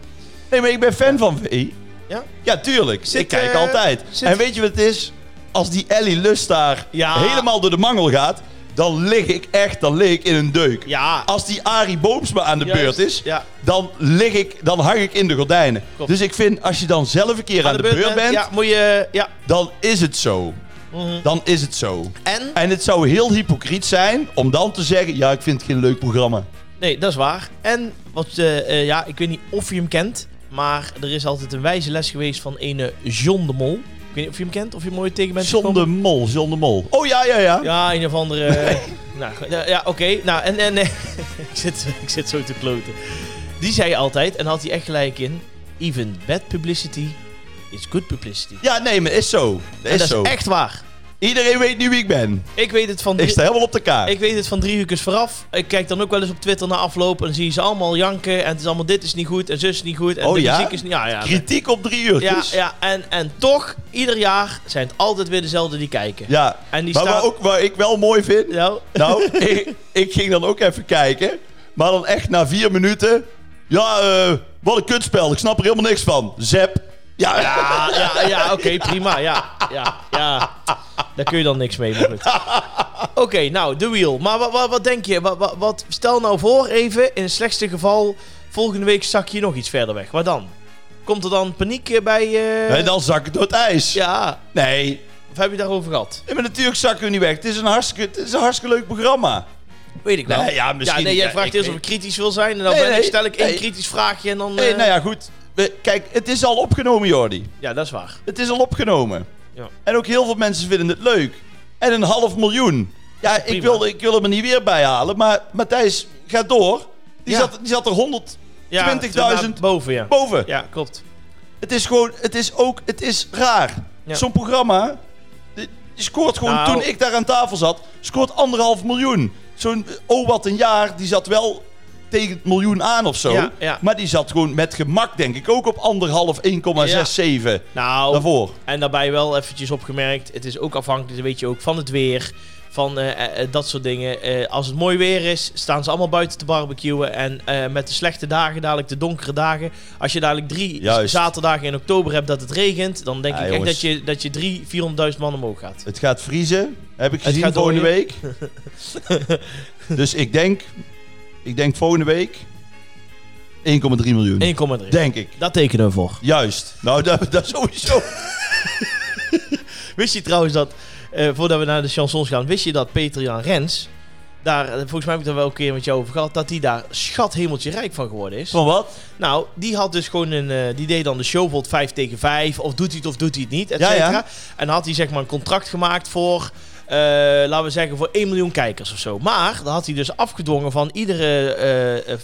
Speaker 2: Nee, maar ik ben fan van V.
Speaker 1: Ja?
Speaker 2: Ja, tuurlijk. ik kijk
Speaker 1: eh,
Speaker 2: altijd.
Speaker 1: zit-
Speaker 2: En weet je wat het is? Als die Ellie Lust daar
Speaker 1: Ja.
Speaker 2: helemaal door de mangel gaat, dan lig ik echt dan lig ik in een deuk.
Speaker 1: Ja.
Speaker 2: Als die Arie Boomsma aan de
Speaker 1: Juist,
Speaker 2: beurt is,
Speaker 1: ja.
Speaker 2: dan, lig ik, dan hang ik in de gordijnen.
Speaker 1: Klopt.
Speaker 2: Dus ik vind, als je dan zelf een keer aan, de, beurt, bent,
Speaker 1: Ja, moet je... Ja.
Speaker 2: dan is het zo.
Speaker 1: Mhm.
Speaker 2: Dan is het zo.
Speaker 1: En?
Speaker 2: En het zou heel hypocriet zijn om dan te zeggen: Ja, ik vind het geen leuk programma.
Speaker 1: Nee, dat is waar. En, wat, eh, eh, ja, ik weet niet of je hem kent, maar er is altijd een wijze les geweest van ene John de Mol. Ik weet niet of je hem kent, of je mooi tegen bent
Speaker 2: John de
Speaker 1: gekomen.
Speaker 2: Mol, John de Mol. Oh ja, ja, ja.
Speaker 1: Ja, een of andere... eh, Nou, goed, ja, ja, oké. Nou, en... en eh, [laughs] ik, zit, ik zit zo te kloten. Die zei altijd, en had hij echt gelijk in, even bad publicity is good publicity.
Speaker 2: Ja, nee, maar is zo. Dat
Speaker 1: en
Speaker 2: is
Speaker 1: dat
Speaker 2: zo.
Speaker 1: is echt waar.
Speaker 2: Iedereen weet nu wie ik ben.
Speaker 1: Ik weet het van...
Speaker 2: Ik
Speaker 1: drie-
Speaker 2: sta helemaal op de kaart.
Speaker 1: Ik weet het van drie uur vooraf. Ik kijk dan ook wel eens op Twitter na afloop. En dan zie je ze allemaal janken. En het is allemaal dit is niet goed. En zus is niet goed. En
Speaker 2: Oh
Speaker 1: de
Speaker 2: ja?
Speaker 1: muziek is niet... Ja, ja. nee.
Speaker 2: Kritiek op drie uur.
Speaker 1: Ja,
Speaker 2: Ja, ja.
Speaker 1: ja en, en toch, ieder jaar zijn het altijd weer dezelfde die kijken. En die
Speaker 2: maar
Speaker 1: staan-
Speaker 2: waar, ook, waar ik wel mooi vind.
Speaker 1: Nou, [laughs]
Speaker 2: Nou, ik, ik ging dan ook even kijken. Maar dan echt na vier minuten. Ja, eh, wat een kutspel. Ik snap er helemaal niks van. Zep. Ja,
Speaker 1: ja, ja, Ah, ja oké, prima. Ja, ja, ja. Daar kun je dan niks mee, maar goed. Oké, nou, de wheel. Maar wat, wat, wat denk je? Wat, wat, wat- stel nou voor even, in het slechtste geval, volgende week zak je nog iets verder weg. Wat dan? Komt er dan paniek eh, bij... eh,
Speaker 2: En dan zak ik door het ijs.
Speaker 1: Ja,
Speaker 2: Nee,
Speaker 1: of heb je het daarover gehad?
Speaker 2: Ja, maar natuurlijk zakken we niet weg. Het is een hartstikke, het is een hartstikke leuk programma.
Speaker 1: Weet ik wel.
Speaker 2: Nee, ja, misschien-
Speaker 1: nee, jij
Speaker 2: ja,
Speaker 1: vraagt
Speaker 2: ik
Speaker 1: eerst
Speaker 2: weet-
Speaker 1: of ik kritisch wil zijn. En dan
Speaker 2: Nee,
Speaker 1: ben ik,
Speaker 2: nee,
Speaker 1: stel ik één
Speaker 2: nee.
Speaker 1: kritisch vraagje en dan...
Speaker 2: Nee,
Speaker 1: eh,
Speaker 2: nou ja, goed. We- kijk, het is al opgenomen, Jordi.
Speaker 1: Ja, dat is waar.
Speaker 2: Het is al opgenomen.
Speaker 1: Ja.
Speaker 2: En ook heel veel mensen vinden het leuk. En een half miljoen. Ja, ik
Speaker 1: prima.
Speaker 2: wil, ik wil hem er niet weer bij halen. Maar Matthijs, ga door. Die,
Speaker 1: Ja.
Speaker 2: zat, die zat er 100
Speaker 1: Ja,
Speaker 2: 20.000
Speaker 1: boven, ja.
Speaker 2: boven.
Speaker 1: Ja, klopt.
Speaker 2: Het is gewoon, het is ook, het is raar.
Speaker 1: Ja.
Speaker 2: Zo'n programma, die, die scoort gewoon,
Speaker 1: Nou.
Speaker 2: toen ik daar aan tafel zat, scoort anderhalf miljoen. Zo'n, oh wat een jaar, die zat wel tegen het miljoen aan of zo.
Speaker 1: Ja, ja.
Speaker 2: Maar die zat gewoon met gemak, denk ik, ook op anderhalf, 1,67
Speaker 1: Nou,
Speaker 2: daarvoor.
Speaker 1: en daarbij wel eventjes opgemerkt, het is ook afhankelijk, dat weet je ook, van het weer, van eh, eh, eh, dat soort dingen. Eh, als het mooi weer is, staan ze allemaal buiten te barbecuen. En eh, met de slechte dagen, dadelijk de donkere dagen. Als je dadelijk drie
Speaker 2: Juist.
Speaker 1: zaterdagen in oktober hebt dat het regent, dan denk
Speaker 2: Ja,
Speaker 1: ik echt
Speaker 2: jongens.
Speaker 1: dat je, dat je drie, 400.000 man omhoog gaat.
Speaker 2: Het gaat vriezen, heb ik
Speaker 1: Het
Speaker 2: gezien
Speaker 1: gaat
Speaker 2: volgende
Speaker 1: dooien. [laughs]
Speaker 2: week. dus ik denk, ik denk volgende week 1,3 miljoen.
Speaker 1: 1,3.
Speaker 2: Denk ik.
Speaker 1: Dat tekenen we voor.
Speaker 2: Juist. Nou, [laughs] dat, dat sowieso.
Speaker 1: Wist je trouwens dat, eh, voordat we naar de chansons gaan, wist je dat Peter Jan Rens, daar, eh, volgens mij heb ik het er wel een keer met jou over gehad, dat hij daar schathemeltje rijk van geworden is.
Speaker 2: Van wat?
Speaker 1: Nou, die had dus gewoon een, eh, die deed dan de show bijvoorbeeld 5 tegen 5, of doet hij het of doet hij het niet, et
Speaker 2: Ja, ja.
Speaker 1: cetera. En dan had hij zeg maar een contract gemaakt voor, eh, laten we zeggen, voor 1 miljoen kijkers of zo. Maar, dan had hij dus afgedwongen van iedere eh, eh,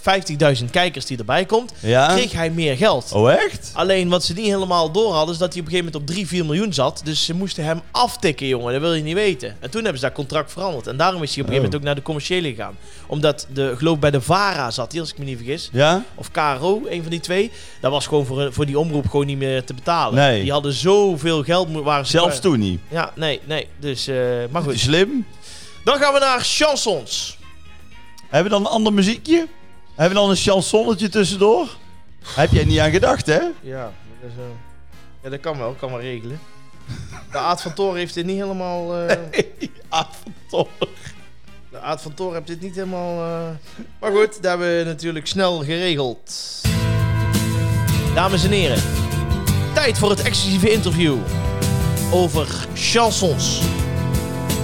Speaker 1: 50.000 kijkers die erbij komt,
Speaker 2: Ja.
Speaker 1: kreeg hij meer geld.
Speaker 2: Oh, echt?
Speaker 1: Alleen wat ze niet helemaal door hadden, is dat hij op een gegeven moment op 3, 4 miljoen zat. Dus ze moesten hem aftikken, jongen. Dat wil je niet weten. En toen hebben ze dat contract veranderd. En daarom is hij op een gegeven
Speaker 2: Oh.
Speaker 1: moment ook naar de commerciële gegaan. Omdat de geloof ik, bij de VARA zat hij, als ik me niet vergis.
Speaker 2: Ja?
Speaker 1: Of KRO, een van die twee. Dat was gewoon voor, voor die omroep gewoon niet meer te betalen.
Speaker 2: Nee.
Speaker 1: Die hadden zoveel geld. mo- Waren ze
Speaker 2: Zelfs toen niet.
Speaker 1: Ja, nee, nee. Dus, eh, maar goed.
Speaker 2: Slim.
Speaker 1: Dan gaan we naar chansons.
Speaker 2: Hebben we dan een ander muziekje? Hebben we dan een chansonnetje tussendoor? Heb jij niet aan gedacht, hè? [laughs]
Speaker 1: Ja, dat, eh, ja, dat kan wel. Kan wel regelen. De Aad van Toren heeft dit niet helemaal... eh,
Speaker 2: Avondtoren.
Speaker 1: De Aad van Toor heeft dit niet helemaal. eh, Maar goed, dat hebben we natuurlijk snel geregeld. Dames en heren, tijd voor het exclusieve interview over chansons.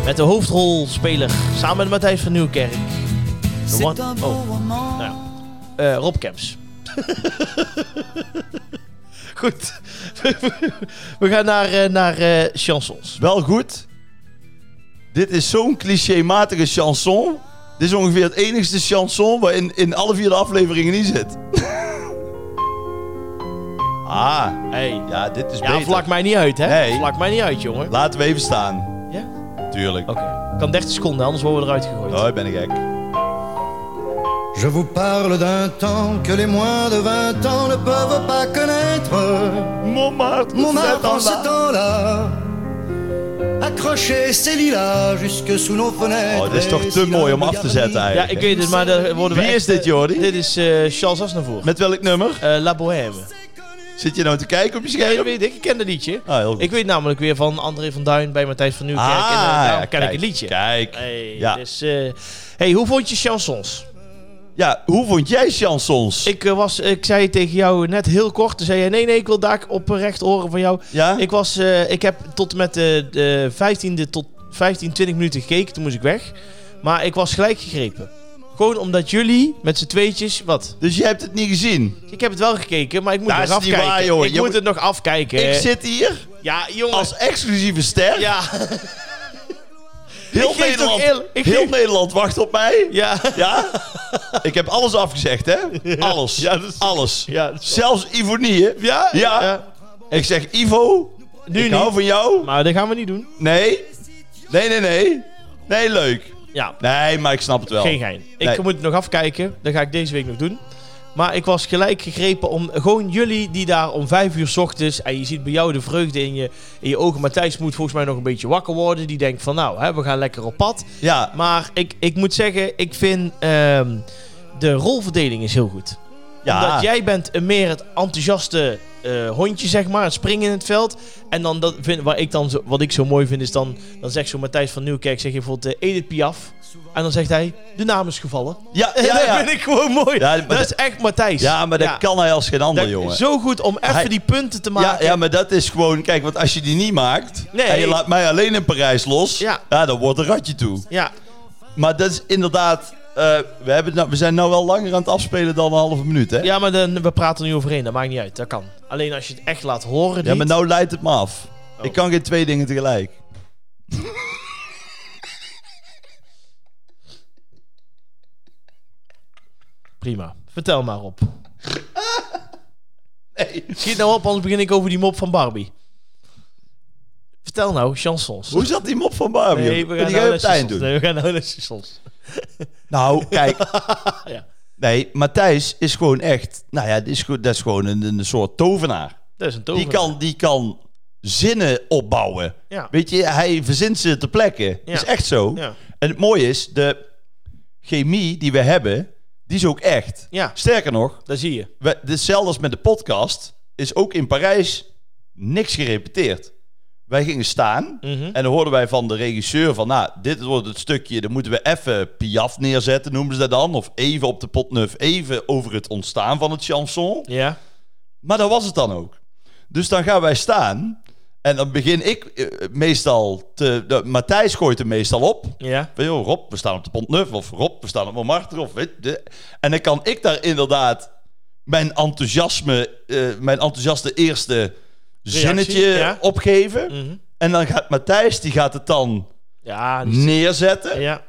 Speaker 1: Met de hoofdrolspeler, samen met Matthijs van Nieuwkerk. De one, oh, nou, ja. Eh, Rob Kemps. [laughs] Goed, [laughs] we gaan naar, eh, naar eh, chansons.
Speaker 2: Wel goed. Dit is zo'n clichématige chanson. Dit is ongeveer het enigste chanson waarin in alle vier de afleveringen niet zit. [laughs] ah,
Speaker 1: Hey.
Speaker 2: ja, dit is
Speaker 1: Ja,
Speaker 2: beter.
Speaker 1: vlak mij niet uit, hè?
Speaker 2: Nee.
Speaker 1: Vlak mij niet uit, jongen.
Speaker 2: Laten we even staan.
Speaker 1: Ja?
Speaker 2: Tuurlijk.
Speaker 1: Oké. Kan 30 seconden, anders worden we eruit gegooid.
Speaker 2: Oh, ik ben ik gek.
Speaker 5: Je vous parle d'un temps que les moins de 20 ans ne peuvent pas connaître.
Speaker 2: Montmartre,
Speaker 5: Montmartre en ce temps-là accrochait ses lilas jusque sous nos fenêtres.
Speaker 2: Oh, dit is toch
Speaker 5: et
Speaker 2: te
Speaker 5: si
Speaker 2: mooi om
Speaker 5: l'on
Speaker 2: af te
Speaker 5: regarde
Speaker 2: zetten
Speaker 1: Ja, ik
Speaker 2: eigenlijk.
Speaker 1: weet het, maar daar worden we
Speaker 2: Wie
Speaker 1: echt,
Speaker 2: is dit,
Speaker 1: eh,
Speaker 2: Jordi?
Speaker 1: Dit is eh Charles Aznavour.
Speaker 2: Met welk nummer?
Speaker 1: Eh, La Bohème.
Speaker 2: Zit je nou te kijken op je
Speaker 1: Ja, dat
Speaker 2: scherm?
Speaker 1: weet ik. Ik ken dat liedje.
Speaker 2: Ah, heel goed.
Speaker 1: Ik weet namelijk weer van André van Duin bij Matthijs van Nieuwkerk. en, eh, daarom ken
Speaker 2: Ah, kijk,
Speaker 1: ik het liedje.
Speaker 2: Kijk.
Speaker 1: Hey,
Speaker 2: ja.
Speaker 1: dus, eh, hey, hoe vond je chansons?
Speaker 2: ja, hoe vond jij chansons?
Speaker 1: Ik, eh, was, ik zei tegen jou net heel kort. Toen zei je, nee, nee, ik wil daar op recht horen van jou.
Speaker 2: ja?
Speaker 1: Ik, was, eh, ik heb tot en met de, de 15e tot 15, 20 minuten gekeken. Toen moest ik weg. Maar ik was gelijk gegrepen. Gewoon omdat jullie met z'n tweetjes... Wat?
Speaker 2: Dus je hebt het niet gezien?
Speaker 1: Ik heb het wel gekeken, maar ik moet
Speaker 2: Dat
Speaker 1: nog
Speaker 2: is niet
Speaker 1: afkijken.
Speaker 2: waar, jongen.
Speaker 1: Ik
Speaker 2: Je
Speaker 1: moet
Speaker 2: moet-
Speaker 1: het nog afkijken.
Speaker 2: Ik zit hier
Speaker 1: Ja, jongens.
Speaker 2: als exclusieve ster.
Speaker 1: Eh, Ja,
Speaker 2: Heel
Speaker 1: Ik geef
Speaker 2: Nederland,
Speaker 1: toch eerlijk- ik
Speaker 2: heel
Speaker 1: geef-
Speaker 2: Nederland wacht op mij.
Speaker 1: ja.
Speaker 2: Ja? Ik heb alles afgezegd, hè? Alles.
Speaker 1: Ja, dat is-
Speaker 2: Alles.
Speaker 1: Ja, dat is-
Speaker 2: Zelfs Ivo niet, hè?
Speaker 1: Ja?
Speaker 2: Ja. Ik zeg, Ivo,
Speaker 1: Nu
Speaker 2: ik
Speaker 1: niet.
Speaker 2: hou van jou.
Speaker 1: Maar dat gaan we niet doen.
Speaker 2: Nee. Nee, nee, nee. Nee, leuk.
Speaker 1: Ja,
Speaker 2: Nee, maar ik snap het wel.
Speaker 1: geen gein.
Speaker 2: Nee.
Speaker 1: Ik moet het nog afkijken. Dat ga ik deze week nog doen. Maar ik was gelijk gegrepen om gewoon jullie die daar om vijf uur 's ochtends... en je ziet bij jou de vreugde in je, in je ogen. Matthijs moet volgens mij nog een beetje wakker worden. Die denkt van nou, hè, we gaan lekker op pad.
Speaker 2: Ja,
Speaker 1: Maar ik, ik moet zeggen, ik vind ehm, de rolverdeling is heel goed.
Speaker 2: ja.
Speaker 1: Omdat jij bent een meer het enthousiaste eh, hondje, zeg maar. Het springen in het veld. En dan dat vind, wat, ik dan zo, wat ik zo mooi vind is dan... Dan zegt zo Matthijs van Nieuwkerk, zeg je bijvoorbeeld eh, Edith Piaf. En dan zegt hij, de naam is gevallen.
Speaker 2: Ja,
Speaker 1: [laughs]
Speaker 2: ja,
Speaker 1: En
Speaker 2: ja.
Speaker 1: dat vind ik gewoon mooi.
Speaker 2: Ja, maar
Speaker 1: dat
Speaker 2: dat-
Speaker 1: is echt Matthijs.
Speaker 2: Ja, maar dat
Speaker 1: Ja.
Speaker 2: kan hij als geen ander,
Speaker 1: Dat-
Speaker 2: jongen.
Speaker 1: Zo goed om
Speaker 2: Hij-
Speaker 1: even die punten te
Speaker 2: Ja,
Speaker 1: maken.
Speaker 2: ja, maar dat is gewoon... Kijk, want als je die niet maakt...
Speaker 1: Nee.
Speaker 2: En je laat mij alleen in Parijs los...
Speaker 1: Ja.
Speaker 2: dan wordt een ratje toe.
Speaker 1: Ja, maar,
Speaker 2: Maar dat is inderdaad... eh, we, hebben, het nou- we zijn nou wel langer aan het afspelen dan een halve minuut, hè?
Speaker 1: ja, maar dan, we praten er nu overheen. Dat maakt niet uit. Dat kan. Alleen als je het echt laat horen.
Speaker 2: Ja,
Speaker 1: niet.
Speaker 2: maar nou leidt het me af.
Speaker 1: Oh.
Speaker 2: Ik kan geen twee dingen tegelijk.
Speaker 1: Prima. Vertel maar
Speaker 2: [laughs]
Speaker 1: op. Schiet nou op, anders begin ik over die mop van Barbie. Vertel nou, chansons.
Speaker 2: Hoe zat die mop van Barbie?
Speaker 1: we
Speaker 2: die
Speaker 1: gaan, nou
Speaker 2: ga je op
Speaker 1: naar
Speaker 2: het eind
Speaker 1: chansons.
Speaker 2: doen.
Speaker 1: Nee, we gaan nou naar chansons.
Speaker 2: Nou, kijk.
Speaker 1: [laughs] Ja.
Speaker 2: Nee, Matthijs is gewoon echt... Nou ja, dat is, gewoon- dat is gewoon een, een soort tovenaar.
Speaker 1: Dat is een tover.
Speaker 2: Die kan, die kan zinnen opbouwen.
Speaker 1: Ja.
Speaker 2: Weet je, hij verzint ze ter plekke. Dat is echt zo.
Speaker 1: Ja.
Speaker 2: En het mooie is, de chemie die we hebben, die is ook echt.
Speaker 1: Ja.
Speaker 2: Sterker nog,
Speaker 1: Dat zie je.
Speaker 2: we, hetzelfde als met de podcast, is ook in Parijs niks gerepeteerd. Wij gingen staan en dan hoorden wij van de regisseur van, nou, dit wordt het stukje, dan moeten we even Piaf neerzetten, noemen ze dat dan. Of even op de potnuf, even over het ontstaan van het chanson.
Speaker 1: Ja.
Speaker 2: Maar dat was het dan ook. Dus dan gaan wij staan en dan begin ik eh, meestal te... de- Matthijs gooit hem meestal op.
Speaker 1: Ja.
Speaker 2: Van, joh, Rob, we staan op de Pontneuf. Of Rob, we staan op Montmartre. Of, weet, de, en dan kan ik daar inderdaad mijn enthousiasme, eh, mijn enthousiaste eerste zinnetje
Speaker 1: ja.
Speaker 2: opgeven.
Speaker 1: Mhm.
Speaker 2: En dan gaat Matthijs, die gaat het dan
Speaker 1: Ja. die-
Speaker 2: neerzetten.
Speaker 1: Ja.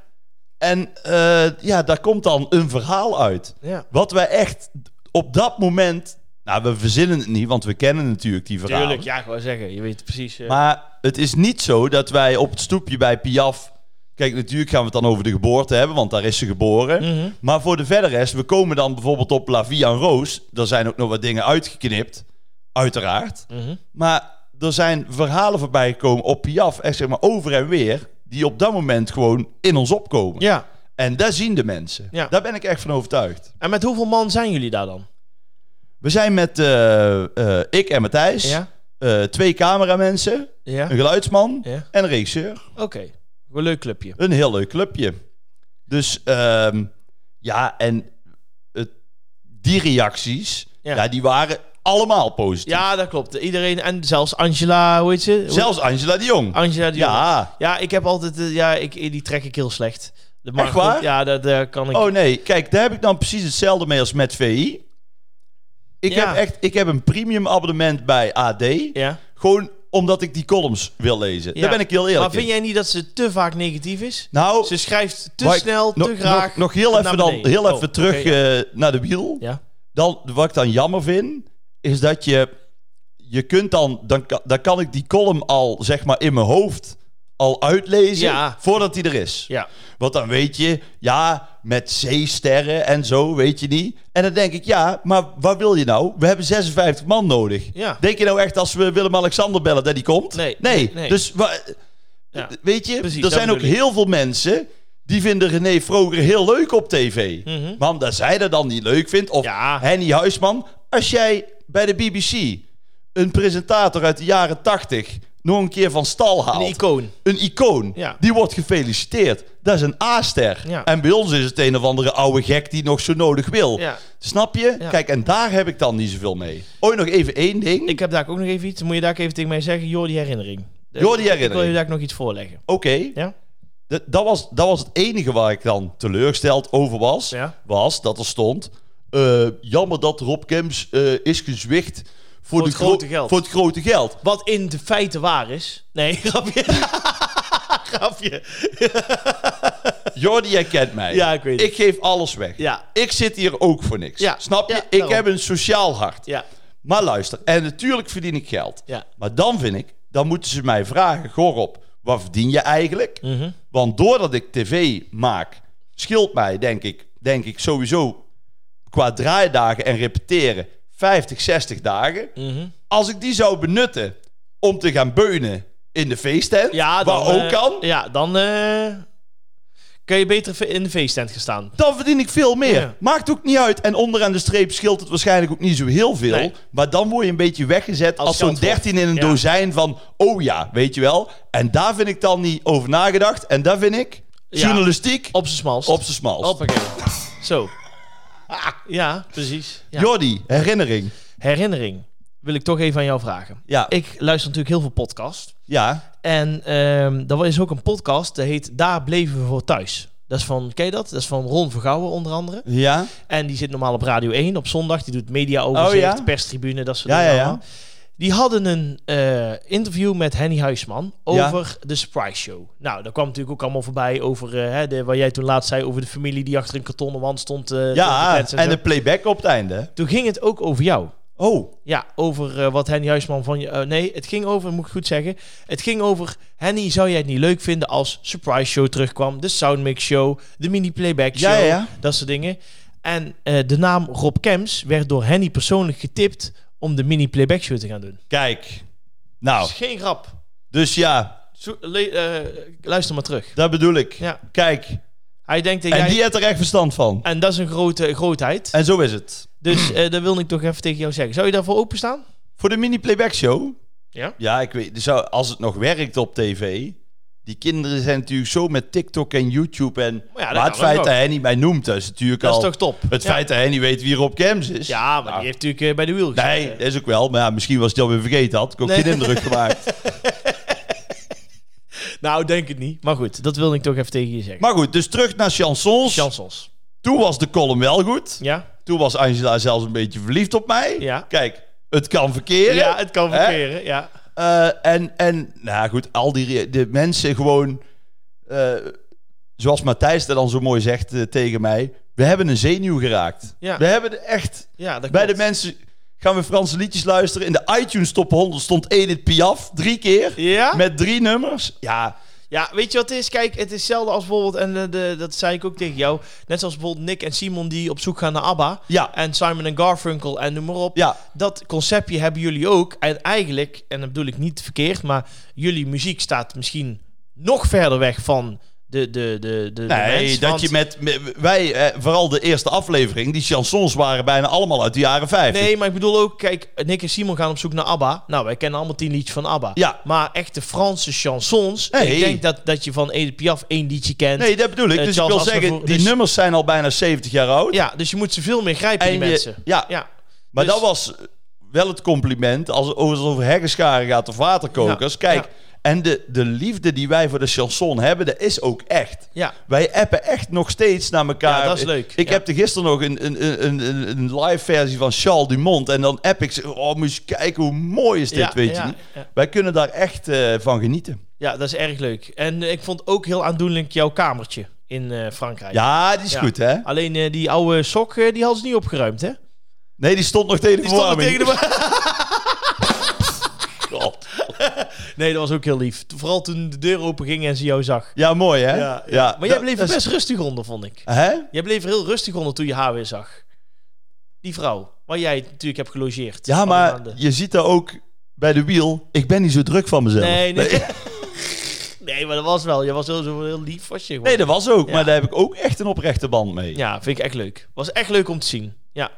Speaker 2: En eh, ja, daar komt dan een verhaal uit.
Speaker 1: Ja.
Speaker 2: Wat wij echt op dat moment... Nou, we verzinnen het niet, want we kennen natuurlijk die verhalen.
Speaker 1: Tuurlijk. Ja, gewoon zeggen. Je weet het precies. eh.
Speaker 2: Maar het is niet zo dat wij op het stoepje bij Piaf... Kijk, natuurlijk gaan we het dan over de geboorte hebben, want daar is ze geboren.
Speaker 1: Mhm.
Speaker 2: Maar voor de verder rest, we komen dan bijvoorbeeld op La Vie en Roos. Daar zijn ook nog wat dingen uitgeknipt, uiteraard.
Speaker 1: Mhm.
Speaker 2: Maar er zijn verhalen voorbij gekomen op Piaf, echt zeg maar over en weer... die op dat moment gewoon in ons opkomen.
Speaker 1: Ja.
Speaker 2: En daar zien de mensen.
Speaker 1: Ja.
Speaker 2: Daar ben ik echt van overtuigd.
Speaker 1: En met hoeveel man zijn jullie daar dan?
Speaker 2: We zijn met eh, eh, ik en Matthijs,
Speaker 1: Ja.
Speaker 2: eh, twee cameramensen,
Speaker 1: Ja.
Speaker 2: een geluidsman
Speaker 1: Ja.
Speaker 2: en een regisseur.
Speaker 1: Oké. Een leuk clubje.
Speaker 2: Een heel leuk clubje. Dus ehm, ja, en het, die reacties,
Speaker 1: Ja.
Speaker 2: ja. die waren allemaal positief.
Speaker 1: Ja, dat klopt. Iedereen, en zelfs Angela, hoe heet ze? Hoe-
Speaker 2: Zelfs Angela de Jong.
Speaker 1: Angela die
Speaker 2: Ja.
Speaker 1: Ja, ik heb altijd... eh, ja, ik, die trek ik heel slecht. De maar
Speaker 2: Echt waar?
Speaker 1: goed, Ja, dat eh, kan ik...
Speaker 2: Oh nee, kijk, daar heb ik dan precies hetzelfde mee als met VI. Ik,
Speaker 1: Ja.
Speaker 2: heb, echt, ik heb een premium abonnement bij AD.
Speaker 1: ja.
Speaker 2: Gewoon omdat ik die columns wil lezen.
Speaker 1: Ja.
Speaker 2: Daar ben ik heel eerlijk
Speaker 1: Maar vind
Speaker 2: in.
Speaker 1: jij niet dat ze te vaak negatief is?
Speaker 2: Nou,
Speaker 1: Ze schrijft te
Speaker 2: maar ik-
Speaker 1: snel, te
Speaker 2: nog,
Speaker 1: graag.
Speaker 2: Nog, nog heel
Speaker 1: naar
Speaker 2: even, dan,
Speaker 1: beneden.
Speaker 2: heel
Speaker 1: Oh,
Speaker 2: even terug
Speaker 1: oké, ja.
Speaker 2: eh, naar de wiel.
Speaker 1: ja.
Speaker 2: Dan, wat ik dan jammer vind, is dat je... Je kunt dan... Dan, kan- dan kan ik die column al, zeg maar, in mijn hoofd al uitlezen...
Speaker 1: Ja.
Speaker 2: voordat die er is.
Speaker 1: Ja.
Speaker 2: Want dan weet je, ja, met C-sterren en zo, weet je niet. En dan denk ik, ja, maar wat wil je nou? We hebben 56 man nodig.
Speaker 1: Ja.
Speaker 2: Denk je nou echt als we Willem-Alexander bellen dat die komt?
Speaker 1: Nee,
Speaker 2: Nee.
Speaker 1: nee, nee.
Speaker 2: Dus wa-
Speaker 1: Ja.
Speaker 2: weet je,
Speaker 1: Precies,
Speaker 2: er
Speaker 1: dat
Speaker 2: zijn ook
Speaker 1: bedoel ik.
Speaker 2: heel veel mensen die vinden René Vroger heel leuk op tv. Maar omdat zij dat dan niet leuk vindt, of
Speaker 1: Mhm. Ja.
Speaker 2: Henny Huisman, als jij bij de BBC een presentator uit de jaren 80 nog een keer van stal haalt
Speaker 1: Een icoon.
Speaker 2: een icoon.
Speaker 1: Ja.
Speaker 2: Die wordt gefeliciteerd. Dat is een A-ster.
Speaker 1: Ja.
Speaker 2: En bij ons is het een of andere oude gek die nog zo nodig wil.
Speaker 1: Ja.
Speaker 2: Snap je?
Speaker 1: Ja.
Speaker 2: Kijk, en daar heb ik dan niet zoveel mee. Oh, nog even één ding.
Speaker 1: Ik heb daar ook nog even iets. Moet je daar even tegen mij zeggen? Joh, die herinnering.
Speaker 2: Joh,
Speaker 1: Ik
Speaker 2: die
Speaker 1: wil je
Speaker 2: herinnering.
Speaker 1: daar nog iets voorleggen.
Speaker 2: Oké.
Speaker 1: Ja?
Speaker 2: D- Dat, was, dat was het enige waar ik dan teleurgesteld over was.
Speaker 1: Ja.
Speaker 2: Was dat er stond... eh, jammer dat Rob Kems eh, is gezwicht... Voor,
Speaker 1: het
Speaker 2: de gro-
Speaker 1: grote geld.
Speaker 2: Voor het grote geld.
Speaker 1: Wat in de feiten waar is. Nee, [laughs] grapje. grapje.
Speaker 2: Jordi, jij kent mij.
Speaker 1: Ja, ik weet het.
Speaker 2: Ik geef alles weg.
Speaker 1: Ja.
Speaker 2: Ik zit hier ook voor niks.
Speaker 1: Ja.
Speaker 2: Snap je?
Speaker 1: Ja,
Speaker 2: ik
Speaker 1: daarom.
Speaker 2: heb een sociaal hart.
Speaker 1: Ja.
Speaker 2: Maar luister, en natuurlijk verdien ik geld.
Speaker 1: Ja.
Speaker 2: Maar dan vind ik, dan moeten ze mij vragen, Gorop, wat verdien je eigenlijk?
Speaker 1: Mhm.
Speaker 2: Want doordat ik tv maak, scheelt mij, denk ik, denk ik sowieso qua draaidagen en repeteren 50, 60 dagen.
Speaker 1: Mhm.
Speaker 2: Als ik die zou benutten om te gaan beunen in de feesttent,
Speaker 1: Ja, dan,
Speaker 2: waar ook
Speaker 1: eh,
Speaker 2: kan,
Speaker 1: Ja, dan eh, kun je beter in de feesttent gaan staan.
Speaker 2: dan verdien ik veel meer.
Speaker 1: Ja.
Speaker 2: Maakt ook niet uit. En onderaan de streep scheelt het waarschijnlijk ook niet zo heel veel.
Speaker 1: Nee.
Speaker 2: Maar dan word je een beetje weggezet als,
Speaker 1: Als
Speaker 2: zo'n
Speaker 1: geldwolf.
Speaker 2: 13 in een
Speaker 1: Ja.
Speaker 2: dozijn van... Oh ja, weet je wel. En daar vind ik dan niet over nagedacht. En daar vind ik
Speaker 1: Ja.
Speaker 2: journalistiek op,
Speaker 1: Op zijn smalst.
Speaker 2: z'n smalst.
Speaker 1: Hoppakee. Zo. Ja, precies. Ja.
Speaker 2: Jordi, herinnering.
Speaker 1: Herinnering wil ik toch even aan jou vragen.
Speaker 2: Ja.
Speaker 1: Ik luister natuurlijk heel veel podcasts.
Speaker 2: Ja.
Speaker 1: En ehm er is ook een podcast, die heet Daar bleven we voor thuis. Dat is van, ken je dat? Dat is van Ron Vergouwen onder andere.
Speaker 2: Ja.
Speaker 1: En die zit normaal op Radio 1 op zondag. Die doet mediaoverzicht,
Speaker 2: Oh, ja?
Speaker 1: perstribune, dat soort
Speaker 2: Ja,
Speaker 1: dingen
Speaker 2: ja, ja.
Speaker 1: allemaal. Die hadden een eh, interview met Henny Huisman over de Surprise Show. Nou, daar kwam natuurlijk ook allemaal voorbij over eh, hè, de, wat jij toen laatst zei over de familie die achter een kartonnen wand stond. eh, te
Speaker 2: Ja,
Speaker 1: kletsen
Speaker 2: en
Speaker 1: zo.
Speaker 2: de playback op het einde.
Speaker 1: Toen ging het ook over jou.
Speaker 2: Oh,
Speaker 1: Ja, over eh, wat Henny Huisman van je... eh, nee, het ging over, moet ik goed zeggen. Het ging over, Henny, zou jij het niet leuk vinden als Surprise Show terugkwam? De Soundmix Show, de Mini Playback Show,
Speaker 2: Ja, ja, ja.
Speaker 1: dat soort dingen. En eh, de naam Rob Kems werd door Henny persoonlijk getipt om de Mini Playback Show te gaan doen.
Speaker 2: kijk.
Speaker 1: Dat
Speaker 2: Nou,
Speaker 1: is geen grap.
Speaker 2: dus ja,
Speaker 1: Zo- le- eh, luister maar terug.
Speaker 2: dat bedoel ik.
Speaker 1: Ja.
Speaker 2: Kijk,
Speaker 1: Hij denkt dat
Speaker 2: en
Speaker 1: jij...
Speaker 2: die heeft er echt verstand van.
Speaker 1: En dat is een grote grootheid.
Speaker 2: En zo is het.
Speaker 1: Dus eh dat wil ik toch even tegen jou zeggen. Zou je daarvoor openstaan?
Speaker 2: Voor de mini-playback show
Speaker 1: Ja.
Speaker 2: Ja, ik weet. Dus als het nog werkt op tv. Die kinderen zijn natuurlijk zo met TikTok en YouTube. En,
Speaker 1: Maar ja, dat kan
Speaker 2: maar het feit
Speaker 1: ook.
Speaker 2: dat hij niet mij noemt, dat is natuurlijk
Speaker 1: Dat
Speaker 2: al.
Speaker 1: is toch top?
Speaker 2: Het
Speaker 1: Ja.
Speaker 2: feit dat hij niet weet wie Rob Kems is.
Speaker 1: Ja, maar
Speaker 2: Nou,
Speaker 1: die heeft natuurlijk eh, bij de wiel gezeten.
Speaker 2: Nee, dat is ook wel. Maar ja, misschien was hij dat weer vergeten. Had ik ook
Speaker 1: Nee.
Speaker 2: geen indruk
Speaker 1: [laughs]
Speaker 2: gemaakt.
Speaker 1: Nou, denk het niet. Maar goed, dat wilde ik toch even tegen je zeggen.
Speaker 2: Maar goed, dus terug naar chansons.
Speaker 1: Chansons.
Speaker 2: Toen was de column wel goed.
Speaker 1: Ja?
Speaker 2: Toen was Angela zelfs een beetje verliefd op mij.
Speaker 1: Ja.
Speaker 2: Kijk, het kan verkeren.
Speaker 1: Ja, het kan
Speaker 2: Hè?
Speaker 1: verkeren. Ja.
Speaker 2: Eh, en, en, nou ja, goed, al die re- de mensen gewoon... eh, zoals Matthijs dat dan zo mooi zegt eh, tegen mij... We hebben een zenuw geraakt.
Speaker 1: Ja.
Speaker 2: We hebben de echt...
Speaker 1: ja, dat
Speaker 2: Bij de
Speaker 1: klopt.
Speaker 2: mensen gaan we Franse liedjes luisteren. In de iTunes top 100 stond Edith Piaf drie keer.
Speaker 1: Ja?
Speaker 2: Met drie nummers. Ja,
Speaker 1: ja, weet je wat het is? Kijk, het is hetzelfde als bijvoorbeeld, en eh, de, dat zei ik ook tegen jou, net zoals bijvoorbeeld Nick en Simon die op zoek gaan naar ABBA.
Speaker 2: Ja.
Speaker 1: En Simon en Garfunkel en noem maar op.
Speaker 2: ja.
Speaker 1: Dat conceptje hebben jullie ook. En eigenlijk, en dat bedoel ik niet verkeerd, maar jullie muziek staat misschien nog verder weg van de, de, de, de, de
Speaker 2: Nee,
Speaker 1: mens,
Speaker 2: dat
Speaker 1: want-
Speaker 2: je met... met- wij, eh, vooral de eerste aflevering, die chansons waren bijna allemaal uit de jaren 50.
Speaker 1: Nee, maar ik bedoel ook, kijk, Nick en Simon gaan op zoek naar ABBA. Nou, wij kennen allemaal tien liedjes van ABBA.
Speaker 2: Ja.
Speaker 1: Maar echte Franse chansons.
Speaker 2: Nee.
Speaker 1: Ik denk dat, dat je van Edith Piaf één liedje kent.
Speaker 2: Nee, dat bedoel ik.
Speaker 1: Eh,
Speaker 2: Dus ik
Speaker 1: Charles
Speaker 2: wil
Speaker 1: Aznavour,
Speaker 2: zeggen, die
Speaker 1: dus-
Speaker 2: nummers zijn al bijna 70 jaar oud.
Speaker 1: Ja, dus je moet ze veel meer grijpen, die
Speaker 2: je-
Speaker 1: mensen.
Speaker 2: ja,
Speaker 1: Ja.
Speaker 2: Maar
Speaker 1: Dus-
Speaker 2: dat was wel het compliment als als het over heggenscharen gaat of waterkokers. Kijk,
Speaker 1: Ja.
Speaker 2: en de, de liefde die wij voor de chanson hebben, dat is ook echt.
Speaker 1: Ja.
Speaker 2: Wij appen echt nog steeds naar elkaar.
Speaker 1: Ja, dat is leuk.
Speaker 2: Ik
Speaker 1: Ja.
Speaker 2: heb er gisteren nog een, een, een- een, een, een live versie van Charles Dumont. En dan app ik ze, oh, moet je eens kijken hoe mooi is dit,
Speaker 1: Ja,
Speaker 2: weet
Speaker 1: ja,
Speaker 2: je niet.
Speaker 1: ja.
Speaker 2: Wij kunnen daar echt eh, van genieten.
Speaker 1: Ja, dat is erg leuk. En eh, ik vond ook heel aandoenlijk jouw kamertje in eh, Frankrijk.
Speaker 2: Ja, die is
Speaker 1: Ja.
Speaker 2: goed, hè?
Speaker 1: Alleen eh, die oude sok, eh, die hadden ze niet opgeruimd, hè?
Speaker 2: Nee, die stond nog tegen de
Speaker 1: Die stond er
Speaker 2: verwarming.
Speaker 1: tegen de wa- [laughs]
Speaker 2: God.
Speaker 1: Nee, dat was ook heel lief. Vooral toen de deur open ging en ze jou zag.
Speaker 2: Ja, mooi, hè?
Speaker 1: Ja, Maar jij
Speaker 2: dat-
Speaker 1: bleef er
Speaker 2: dat is-
Speaker 1: best rustig onder, vond ik.
Speaker 2: Hè?
Speaker 1: Jij bleef er heel rustig onder toen je haar weer zag. Die vrouw, waar jij natuurlijk hebt gelogeerd.
Speaker 2: Ja,
Speaker 1: Alle
Speaker 2: maar
Speaker 1: maanden.
Speaker 2: je ziet daar ook bij de wiel. Ik ben niet zo druk van mezelf.
Speaker 1: Nee, nee. [laughs] Nee, maar dat was wel. Je was heel, zo heel lief, was je gewoon.
Speaker 2: [laughs] Nee, dat was ook.
Speaker 1: Ja.
Speaker 2: Maar daar heb ik ook echt een oprechte band mee.
Speaker 1: Ja, vind ik echt leuk. Was echt leuk om te zien. Ja.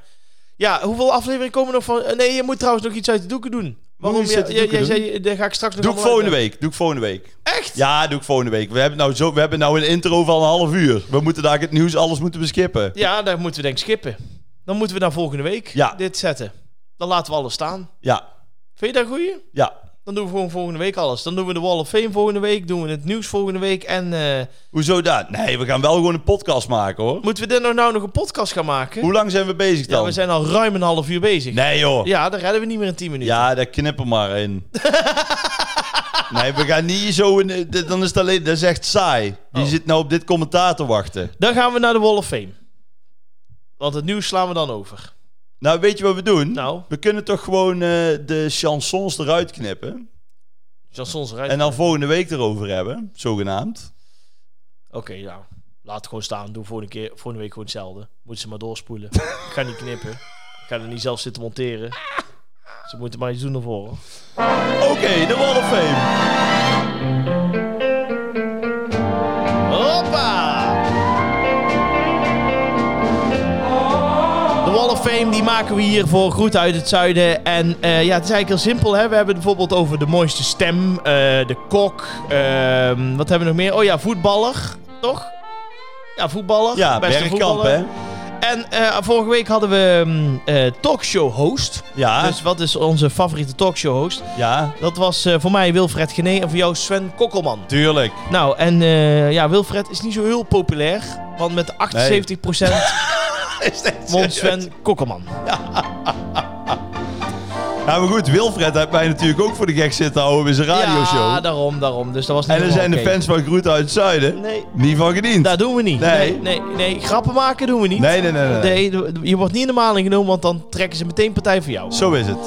Speaker 1: Ja, hoeveel afleveringen komen nog van... eh, Nee, je moet trouwens nog iets uit de doeken doen. Waarom?
Speaker 2: iets uit
Speaker 1: Je,
Speaker 2: de
Speaker 1: jij
Speaker 2: doeken
Speaker 1: jij
Speaker 2: doen?
Speaker 1: zei, daar ga ik straks nog
Speaker 2: Doe ik
Speaker 1: allemaal
Speaker 2: volgende
Speaker 1: uit-
Speaker 2: week. Doe ik volgende week.
Speaker 1: Echt?
Speaker 2: Ja, doe ik volgende week. We hebben nou, zo, we hebben nou een intro van een half uur. We moeten daar het nieuws, alles moeten beskippen.
Speaker 1: Ja, daar moeten we denk ik skippen. Dan moeten we naar volgende week
Speaker 2: Ja.
Speaker 1: dit zetten. Dan laten we alles staan.
Speaker 2: Ja,
Speaker 1: Vind je dat goeie?
Speaker 2: ja.
Speaker 1: Dan doen we gewoon volgende week alles. Dan doen we de Wall of Fame volgende week. Doen we het nieuws volgende week. En eh,
Speaker 2: Hoezo dat? Nee, we gaan wel gewoon een podcast maken hoor.
Speaker 1: moeten we dit nou, nou nog een podcast gaan maken?
Speaker 2: Hoe lang zijn we bezig dan?
Speaker 1: ja, we zijn al ruim een half uur bezig.
Speaker 2: Nee joh. Ja,
Speaker 1: Ja, daar redden we niet meer in 10 minuten.
Speaker 2: daar knippen maar in. [laughs] nee, we gaan niet zo in. dit- Dan is het alleen. Dat is echt saai. Die
Speaker 1: Oh.
Speaker 2: zit nou op dit commentaar te wachten.
Speaker 1: Dan gaan we naar de Wall of Fame. Want het nieuws slaan we dan over.
Speaker 2: Nou, weet je wat we doen?
Speaker 1: Nou.
Speaker 2: We kunnen toch gewoon eh, de chansons eruit knippen.
Speaker 1: Chansons eruit.
Speaker 2: En dan volgende week erover hebben, zogenaamd.
Speaker 1: Oké, nou. Laat het gewoon staan. Doe volgende, keer, volgende week gewoon hetzelfde. Moeten ze maar
Speaker 2: [laughs]
Speaker 1: doorspoelen. ik ga niet knippen. Ik ga er niet zelf zitten monteren. Ze moeten maar iets doen ervoor. hoor.
Speaker 2: Oké, de Wall of Fame.
Speaker 1: Hoppa! De Wall of Fame die maken we hier voor Groeten uit het Zuiden. En eh, ja, het is eigenlijk heel simpel. Hè? We hebben het bijvoorbeeld over de mooiste stem, eh, de kok. ehm, wat hebben we nog meer? Oh ja, voetballer, toch? Ja, voetballer.
Speaker 2: Ja,
Speaker 1: beste
Speaker 2: Bergkamp,
Speaker 1: voetballer.
Speaker 2: hè?
Speaker 1: En eh, vorige week hadden we mm, eh, talkshow host.
Speaker 2: Ja,
Speaker 1: Dus wat is onze favoriete talkshow host?
Speaker 2: ja,
Speaker 1: Dat was eh, voor mij Wilfred Gené en voor jou Sven Kokkelman.
Speaker 2: tuurlijk.
Speaker 1: Nou, en eh, ja, Wilfred is niet zo heel populair. Want met 78%
Speaker 2: [laughs] Is dit
Speaker 1: won
Speaker 2: serieus?
Speaker 1: Sven Kokkelman.
Speaker 2: Ja, maar goed, Wilfred heeft mij natuurlijk ook voor de gek zitten houden bij zijn radioshow.
Speaker 1: Ja, daarom, daarom. Dus dat was niet
Speaker 2: en er
Speaker 1: helemaal
Speaker 2: zijn de
Speaker 1: oké.
Speaker 2: fans van Groet uit het Zuiden
Speaker 1: Nee,
Speaker 2: niet van gediend.
Speaker 1: dat doen we niet.
Speaker 2: Nee.
Speaker 1: nee, nee, nee. Grappen maken doen we niet.
Speaker 2: Nee, nee, nee, nee, nee.
Speaker 1: Nee, Je wordt niet in de maling genomen, want dan trekken ze meteen partij voor jou.
Speaker 2: Zo is het.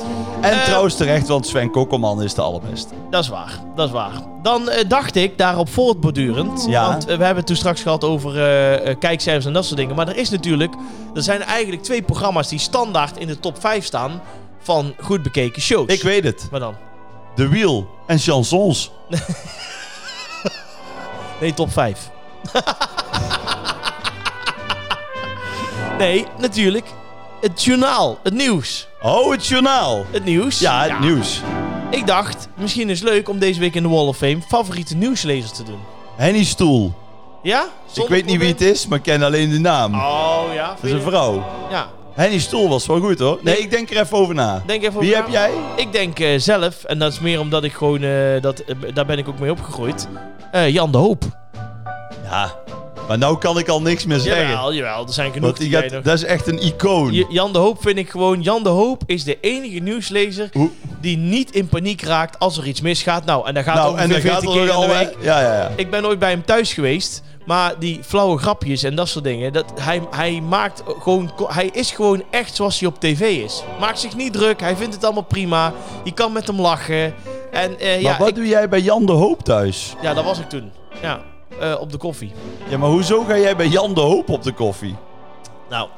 Speaker 2: En
Speaker 1: Eh.
Speaker 2: trouwens terecht, want Sven Kokkelman is de allerbeste.
Speaker 1: Dat is waar, dat is waar. Dan eh, dacht ik, daarop voortbordurend...
Speaker 2: Ja.
Speaker 1: want eh, we hebben het toen straks gehad over eh, eh, kijkcijfers en dat soort dingen... maar er is natuurlijk... er zijn eigenlijk twee programma's die standaard in de top 5 staan... van goed bekeken shows.
Speaker 2: Ik weet het.
Speaker 1: Maar dan?
Speaker 2: De Wiel en Chansons.
Speaker 1: Nee, top 5. nee, natuurlijk. Het journaal, het nieuws.
Speaker 2: Oh, het journaal.
Speaker 1: Het nieuws.
Speaker 2: Ja, het nieuws.
Speaker 1: Ik dacht, misschien is het leuk om deze week in de Wall of Fame... favoriete nieuwslezers te doen.
Speaker 2: Henny Stoel.
Speaker 1: Ja?
Speaker 2: Ik weet niet wie het is, maar ik ken alleen de naam.
Speaker 1: Oh ja,
Speaker 2: Dat is een vrouw.
Speaker 1: Ja,
Speaker 2: Henny Stoel was wel goed hoor. Nee, ik denk er even over na.
Speaker 1: Denk even
Speaker 2: Wie
Speaker 1: over
Speaker 2: heb
Speaker 1: na.
Speaker 2: jij?
Speaker 1: Ik denk eh, zelf, en dat is meer omdat ik gewoon, eh, dat, eh, daar ben ik ook mee opgegroeid, eh, Jan de Hoop.
Speaker 2: Ja, maar nou kan ik al niks meer zeggen.
Speaker 1: Jawel, jawel, er zijn genoeg
Speaker 2: want
Speaker 1: die
Speaker 2: die
Speaker 1: jij
Speaker 2: gaat,
Speaker 1: nog-
Speaker 2: dat is echt een icoon.
Speaker 1: Je- Jan de Hoop vind ik gewoon, Jan de Hoop is de enige nieuwslezer
Speaker 2: Hoe-
Speaker 1: die niet in paniek raakt als er iets misgaat. Nou, en daar gaat
Speaker 2: nou,
Speaker 1: ongeveer
Speaker 2: en dan
Speaker 1: 14
Speaker 2: gaat er
Speaker 1: keer
Speaker 2: nog
Speaker 1: in
Speaker 2: al
Speaker 1: de
Speaker 2: weg.
Speaker 1: week.
Speaker 2: Ja, ja, ja.
Speaker 1: Ik ben ooit bij hem thuis geweest, maar die flauwe grapjes en dat soort dingen, dat, hij, hij, maakt gewoon, hij is gewoon echt zoals hij op tv is. Maakt zich niet druk, hij vindt het allemaal prima, je kan met hem lachen. En, eh, ja,
Speaker 2: maar wat
Speaker 1: ik-
Speaker 2: doe jij bij Jan de Hoop thuis?
Speaker 1: Ja, dat was ik toen. Ja, eh, op de koffie.
Speaker 2: Ja, maar hoezo ga jij bij Jan de Hoop op de koffie?
Speaker 1: Nou, [clears throat]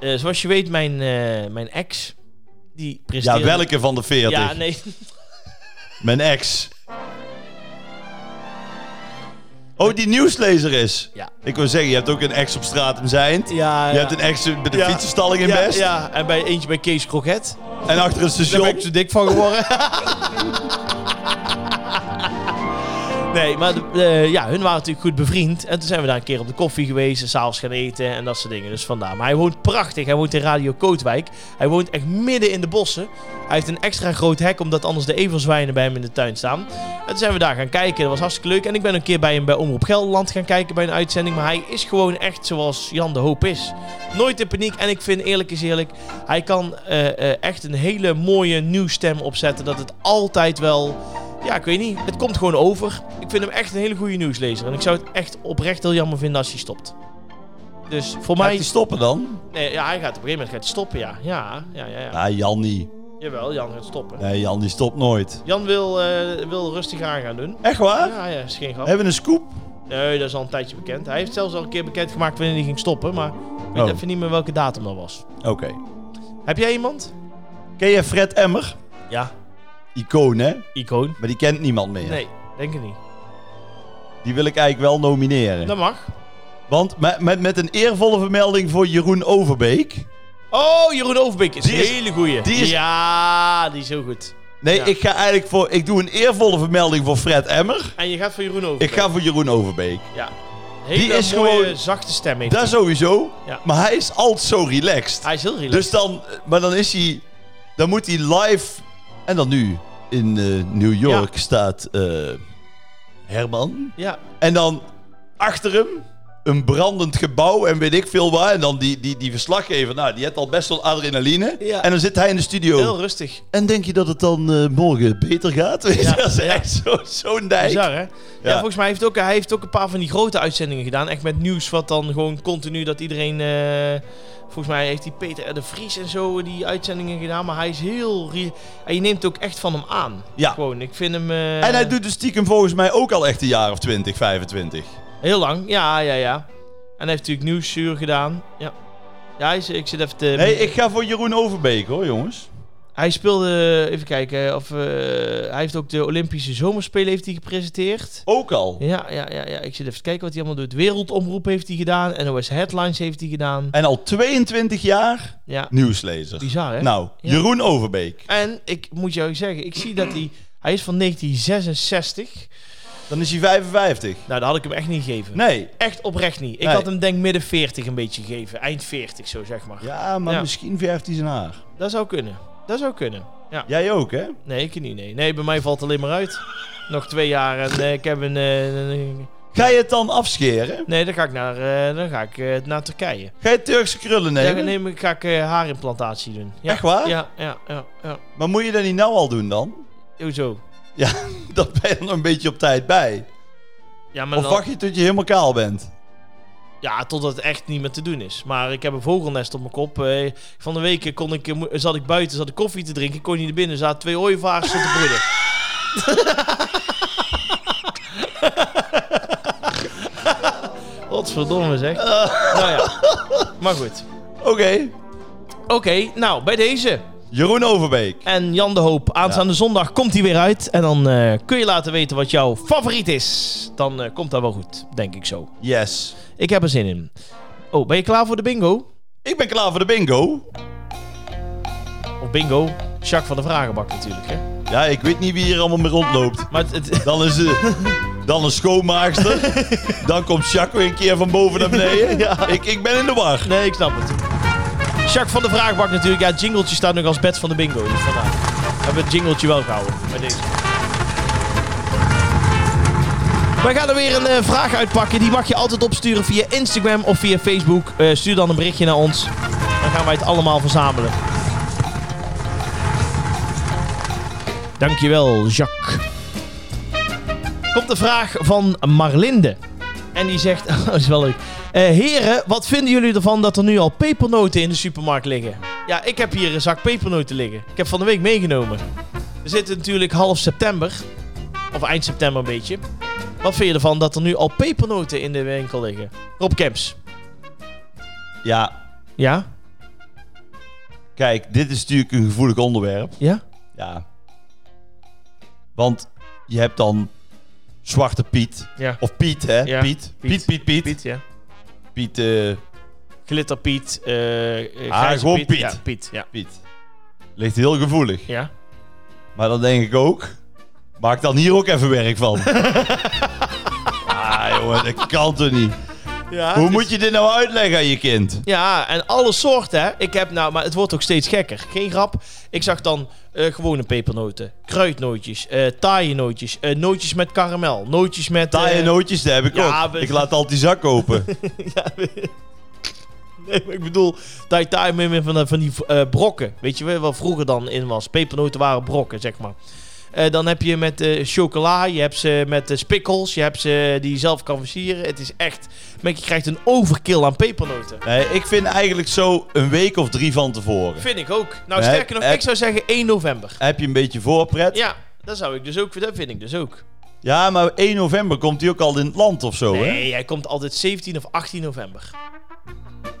Speaker 1: eh, zoals je weet, mijn, eh, mijn ex, die
Speaker 2: Ja,
Speaker 1: presteerde...
Speaker 2: welke van de veertig?
Speaker 1: Ja, nee.
Speaker 2: Mijn ex. Oh, die nieuwslezer is.
Speaker 1: Ja.
Speaker 2: Ik wil zeggen, je hebt ook een ex op straat om zijn.
Speaker 1: Ah, Ja,
Speaker 2: Je hebt een ex bij de
Speaker 1: Ja.
Speaker 2: fietsenstalling in
Speaker 1: ja,
Speaker 2: Best.
Speaker 1: ja, en bij, eentje bij Kees Kroket.
Speaker 2: En achter een [laughs]
Speaker 1: Daar ben
Speaker 2: station.
Speaker 1: ik zo dik van geworden. Nee, maar de- eh, ja, hun waren natuurlijk goed bevriend. En toen zijn we daar een keer op de koffie geweest. En s'avonds gaan eten en dat soort dingen. Dus vandaar. Maar hij woont prachtig. Hij woont in Radio Kootwijk. Hij woont echt midden in de bossen. Hij heeft een extra groot hek, omdat anders de everzwijnen bij hem in de tuin staan. En toen zijn we daar gaan kijken. Dat was hartstikke leuk. En ik ben een keer bij hem bij Omroep Gelderland gaan kijken bij een uitzending. Maar hij is gewoon echt zoals Jan de Hoop is. Nooit in paniek. En ik vind, eerlijk is eerlijk, hij kan eh, eh, echt een hele mooie nieuwstem opzetten. Dat het altijd wel... Ja, ik weet niet. Het komt gewoon over. Ik vind hem echt een hele goede nieuwslezer. En ik zou het echt oprecht heel jammer vinden als hij stopt. Dus voor
Speaker 2: Gaat
Speaker 1: mij...
Speaker 2: die stoppen dan?
Speaker 1: Nee, ja, hij gaat op een gegeven moment gaat hij stoppen, ja. Ja, ja, ja. ja.
Speaker 2: Ah, Jan niet.
Speaker 1: Jawel, Jan gaat stoppen.
Speaker 2: Nee, Jan die stopt nooit.
Speaker 1: Jan wil, eh, wil rustig aan gaan doen.
Speaker 2: Echt waar?
Speaker 1: Ja, ja, is geen grap.
Speaker 2: Hebben we een scoop?
Speaker 1: Nee, dat is al een tijdje bekend. Hij heeft zelfs al een keer bekendgemaakt wanneer hij ging stoppen. Maar ik weet
Speaker 2: Oh.
Speaker 1: even niet meer welke datum dat was.
Speaker 2: Oké.
Speaker 1: Heb jij iemand?
Speaker 2: Ken je Fred Emmer?
Speaker 1: Ja,
Speaker 2: Icoon, hè?
Speaker 1: icoon.
Speaker 2: Maar die kent niemand meer.
Speaker 1: Nee, denk het niet.
Speaker 2: Die wil ik eigenlijk wel nomineren.
Speaker 1: Dat mag.
Speaker 2: Want met, met, met een eervolle vermelding voor Jeroen Overbeek.
Speaker 1: Oh, Jeroen Overbeek is een
Speaker 2: Die is-
Speaker 1: hele goeie.
Speaker 2: die is-
Speaker 1: Ja, die is heel goed.
Speaker 2: Nee,
Speaker 1: Ja.
Speaker 2: ik ga eigenlijk voor. Ik doe een eervolle vermelding voor Fred Emmer.
Speaker 1: En je gaat voor Jeroen Overbeek.
Speaker 2: Ik ga voor Jeroen Overbeek.
Speaker 1: Ja. Hele
Speaker 2: Die is
Speaker 1: mooie,
Speaker 2: gewoon-
Speaker 1: zachte stem heeft
Speaker 2: Dat
Speaker 1: hij.
Speaker 2: sowieso.
Speaker 1: Ja.
Speaker 2: Maar hij is altijd zo relaxed.
Speaker 1: Hij is heel relaxed.
Speaker 2: Dus dan. Maar dan is hij. Dan moet hij live. En dan nu in eh, New York staat. eh, Herman.
Speaker 1: Ja.
Speaker 2: En dan achter hem een brandend gebouw en weet ik veel waar. En dan die, die, die verslaggever, nou, die heeft al best wel adrenaline.
Speaker 1: Ja.
Speaker 2: En dan zit hij in de studio.
Speaker 1: Heel rustig.
Speaker 2: En denk je dat het dan eh, morgen beter gaat? [laughs] Weet je,
Speaker 1: Ja,
Speaker 2: dat is
Speaker 1: ja.
Speaker 2: echt zo- zo'n dijk.
Speaker 1: Bizar, hè? Ja. volgens mij heeft ook, hij heeft ook een paar van die grote uitzendingen gedaan. Echt met nieuws wat dan gewoon continu dat iedereen... eh, volgens mij heeft die Peter R. de Vries en zo eh, die uitzendingen gedaan. Maar hij is heel... re- En je neemt ook echt van hem aan.
Speaker 2: Ja.
Speaker 1: Gewoon, ik vind hem... eh,
Speaker 2: En hij doet dus stiekem volgens mij ook al echt een jaar of 20, 25.
Speaker 1: Heel lang, ja, ja, ja. En hij heeft natuurlijk nieuwsuur gedaan. Ja. Ja, hij is- ik zit even te...
Speaker 2: Nee, ik ga voor Jeroen Overbeek hoor, jongens.
Speaker 1: Hij speelde, even kijken, of, eh, hij heeft ook de Olympische Zomerspelen heeft hij gepresenteerd.
Speaker 2: Ook al.
Speaker 1: Ja, ja, ja, ja, ik zit even te kijken wat hij allemaal doet. Wereldomroep heeft hij gedaan, NOS Headlines heeft hij gedaan.
Speaker 2: En al 22 jaar
Speaker 1: Ja,
Speaker 2: nieuwslezer.
Speaker 1: bizar hè?
Speaker 2: Nou,
Speaker 1: Ja.
Speaker 2: Jeroen Overbeek.
Speaker 1: En ik moet jou zeggen, ik zie dat hij, hij is van 1966.
Speaker 2: Dan is hij 55.
Speaker 1: Nou, dat had ik hem echt niet gegeven.
Speaker 2: Nee.
Speaker 1: Echt oprecht niet. Ik
Speaker 2: Nee.
Speaker 1: had hem denk midden 40 een beetje gegeven, eind 40 zo zeg maar.
Speaker 2: Ja, maar
Speaker 1: Ja.
Speaker 2: misschien verft hij zijn haar.
Speaker 1: Dat zou kunnen, dat zou kunnen. Ja,
Speaker 2: Jij ook, hè?
Speaker 1: nee, ik niet, nee. Nee, bij mij valt het alleen maar uit. Nog twee jaar en eh, ik heb een... eh, een-
Speaker 2: Ga je het dan afscheren?
Speaker 1: Nee, dan ga ik naar, eh, dan ga ik, eh, naar Turkije.
Speaker 2: Ga je Turkse krullen nemen?
Speaker 1: Dan ga- neem ik- ga ik eh, haarimplantatie doen. Ja.
Speaker 2: Echt waar?
Speaker 1: Ja, ja, ja. ja.
Speaker 2: Maar moet je dat niet nou al doen dan?
Speaker 1: Hoezo?
Speaker 2: Ja, [laughs] dat ben je er nog een beetje op tijd bij.
Speaker 1: Ja, maar
Speaker 2: Of
Speaker 1: dan-
Speaker 2: wacht je tot je helemaal kaal bent?
Speaker 1: ja, totdat het echt niet meer te doen is. Maar ik heb een vogelnest op mijn kop. eh, van de week kon ik, eh, mo- zat ik buiten, zat ik koffie te drinken. Ik kon niet naar binnen, Er zaten twee ooievaars tot te broeden.
Speaker 2: [laughs]
Speaker 1: Godverdomme zeg. Nou ja, maar goed.
Speaker 2: Oké,
Speaker 1: Oké, nou, bij deze.
Speaker 2: Jeroen Overbeek.
Speaker 1: En Jan de Hoop, aanstaande zondag komt hij weer uit. En dan eh, kun je laten weten wat jouw favoriet is. Dan eh, komt dat wel goed, denk ik zo.
Speaker 2: Yes.
Speaker 1: Ik heb er zin in. Oh, ben je klaar voor de bingo?
Speaker 2: Ik ben klaar voor de bingo.
Speaker 1: Of bingo, Jacques van de Vragenbak natuurlijk, hè?
Speaker 2: Ja, ik weet niet wie hier allemaal mee rondloopt.
Speaker 1: Maar het, het-
Speaker 2: Dan is eh, dan een schoonmaakster. Dan komt Jacco een keer van boven naar beneden.
Speaker 1: Ja.
Speaker 2: Ik, ik ben in de war.
Speaker 1: nee, ik snap het. Jacques van de Vragenbak natuurlijk. Ja, het jingletje staat nog als bed van de bingo. Dus vandaar. Hebben we het jingletje wel gehouden bij deze. Wij gaan er weer een eh, vraag uitpakken. Die mag je altijd opsturen via Instagram of via Facebook. Eh, stuur dan een berichtje naar ons. Dan gaan wij het allemaal verzamelen. Dankjewel, Jacques. Komt de vraag van Marlinde. En die zegt, [laughs] oh, dat is wel leuk. Eh, heren, wat vinden jullie ervan dat er nu al pepernoten in de supermarkt liggen? Ja, ik heb hier een zak pepernoten liggen. Ik heb van de week meegenomen. We zitten natuurlijk half september. Of eind september een beetje. Wat vind je ervan dat er nu al pepernoten in de winkel liggen? Rob Kemps.
Speaker 2: Ja,
Speaker 1: Ja?
Speaker 2: kijk, dit is natuurlijk een gevoelig onderwerp.
Speaker 1: Ja?
Speaker 2: Ja. Want je hebt dan Zwarte Piet.
Speaker 1: Ja.
Speaker 2: Of Piet, hè?
Speaker 1: Ja,
Speaker 2: Piet.
Speaker 1: Piet.
Speaker 2: Piet, Piet, Piet. Piet,
Speaker 1: Piet, ja.
Speaker 2: eh,
Speaker 1: Glitterpiet. eh eh,
Speaker 2: Ah,
Speaker 1: grijze
Speaker 2: gewoon Piet.
Speaker 1: Ja, Piet. Ja.
Speaker 2: Piet. Ligt heel gevoelig.
Speaker 1: Ja.
Speaker 2: Maar dan denk ik ook... Maak dan hier ook even werk
Speaker 1: [laughs]
Speaker 2: van. ah, jongen, dat kan toch niet?
Speaker 1: Ah, Ja,
Speaker 2: Hoe moet je dit nou uitleggen aan je kind?
Speaker 1: ja, en alle soorten. hè. Ik heb nou, maar het wordt ook steeds gekker. Geen grap. Ik zag dan eh, gewone pepernoten, kruidnootjes, eh taaie nootjes, eh, nootjes met karamel, nootjes met...
Speaker 2: Taaie
Speaker 1: eh,
Speaker 2: nootjes, daar heb ik
Speaker 1: ja,
Speaker 2: ook.
Speaker 1: we-
Speaker 2: Ik laat altijd die zak
Speaker 1: [laughs]
Speaker 2: open.
Speaker 1: Nee, maar [laughs] ik bedoel, taai taai meer meer van, de- van die eh, brokken. Weet je wel, wat vroeger dan in was? Pepernoten waren brokken, zeg maar. Eh, dan heb je met eh, chocola, je hebt ze met eh, spikkels, je hebt ze die je zelf kan versieren. Het is echt, maar je krijgt een overkill aan pepernoten.
Speaker 2: Nee, ik vind eigenlijk zo een week of drie van tevoren.
Speaker 1: Vind ik ook. Nou,
Speaker 2: Nee,
Speaker 1: sterker nog,
Speaker 2: eh,
Speaker 1: ik zou zeggen 1 november.
Speaker 2: Heb je een beetje voorpret?
Speaker 1: Ja, dat zou ik dus ook, dat vind ik dus ook.
Speaker 2: Ja, maar 1 november komt hij ook al in het land of zo, Oh, hè?
Speaker 1: Nee, hij komt altijd 17 of 18 november.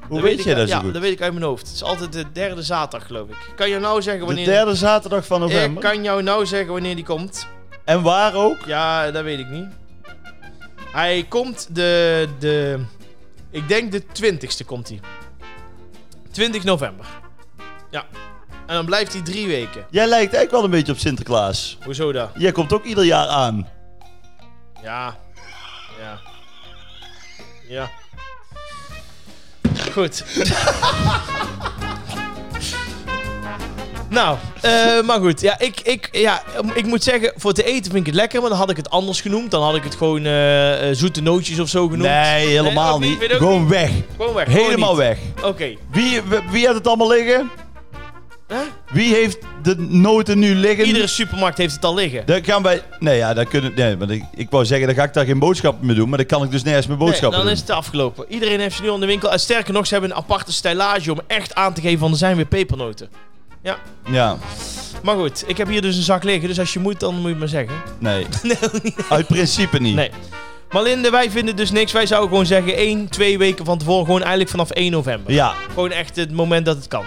Speaker 2: Hoe weet je
Speaker 1: ik,
Speaker 2: dat zo
Speaker 1: Ja,
Speaker 2: goed?
Speaker 1: dat weet ik uit mijn hoofd. Het is altijd de derde zaterdag, geloof ik. Ik Kan jou nou zeggen
Speaker 2: De
Speaker 1: wanneer...
Speaker 2: derde zaterdag van
Speaker 1: ik
Speaker 2: november.
Speaker 1: kan jou nou zeggen wanneer die komt.
Speaker 2: En waar ook?
Speaker 1: Ja, dat weet ik niet. Hij komt de. de ik denk de 20ste komt hij. 20 november. Ja. En dan blijft hij drie weken.
Speaker 2: Jij lijkt eigenlijk wel een beetje op Sinterklaas.
Speaker 1: Hoezo dat?
Speaker 2: Jij komt ook ieder jaar aan.
Speaker 1: Ja. Ja. Ja. Goed. [laughs] nou, eh, maar goed. Ja ik, ik, ja, ik moet zeggen, voor te eten vind ik het lekker, maar dan had ik het anders genoemd. Dan had ik het gewoon eh, eh, zoete nootjes of zo genoemd.
Speaker 2: Nee, helemaal
Speaker 1: ook niet.
Speaker 2: niet.
Speaker 1: Vind ik ook
Speaker 2: Gewoon weg.
Speaker 1: Gewoon weg. gewoon
Speaker 2: Helemaal
Speaker 1: niet.
Speaker 2: weg.
Speaker 1: Oké.
Speaker 2: Wie, wie- wie had het allemaal liggen?
Speaker 1: Huh?
Speaker 2: Wie heeft de noten nu liggen?
Speaker 1: Iedere supermarkt heeft het al liggen.
Speaker 2: Dan gaan wij... Nee, ja, dan kunnen... Nee, want ik, ik wou zeggen, dan ga ik daar geen boodschappen mee doen. Maar dan kan ik dus nergens mijn
Speaker 1: Nee,
Speaker 2: boodschappen
Speaker 1: dan is
Speaker 2: doen.
Speaker 1: het afgelopen. Iedereen heeft ze nu aan de winkel. En sterker nog, ze hebben een aparte stijlage om echt aan te geven van er zijn weer pepernoten.
Speaker 2: Ja,
Speaker 1: Maar goed, ik heb hier dus een zak liggen. Dus als je moet, dan moet je het maar zeggen. [laughs]
Speaker 2: nee. Uit principe niet.
Speaker 1: Nee. Malinde, wij vinden dus niks. Wij zouden gewoon zeggen 1, 2 weken van tevoren. Gewoon eigenlijk vanaf 1 november.
Speaker 2: Ja,
Speaker 1: Gewoon echt het moment dat het kan.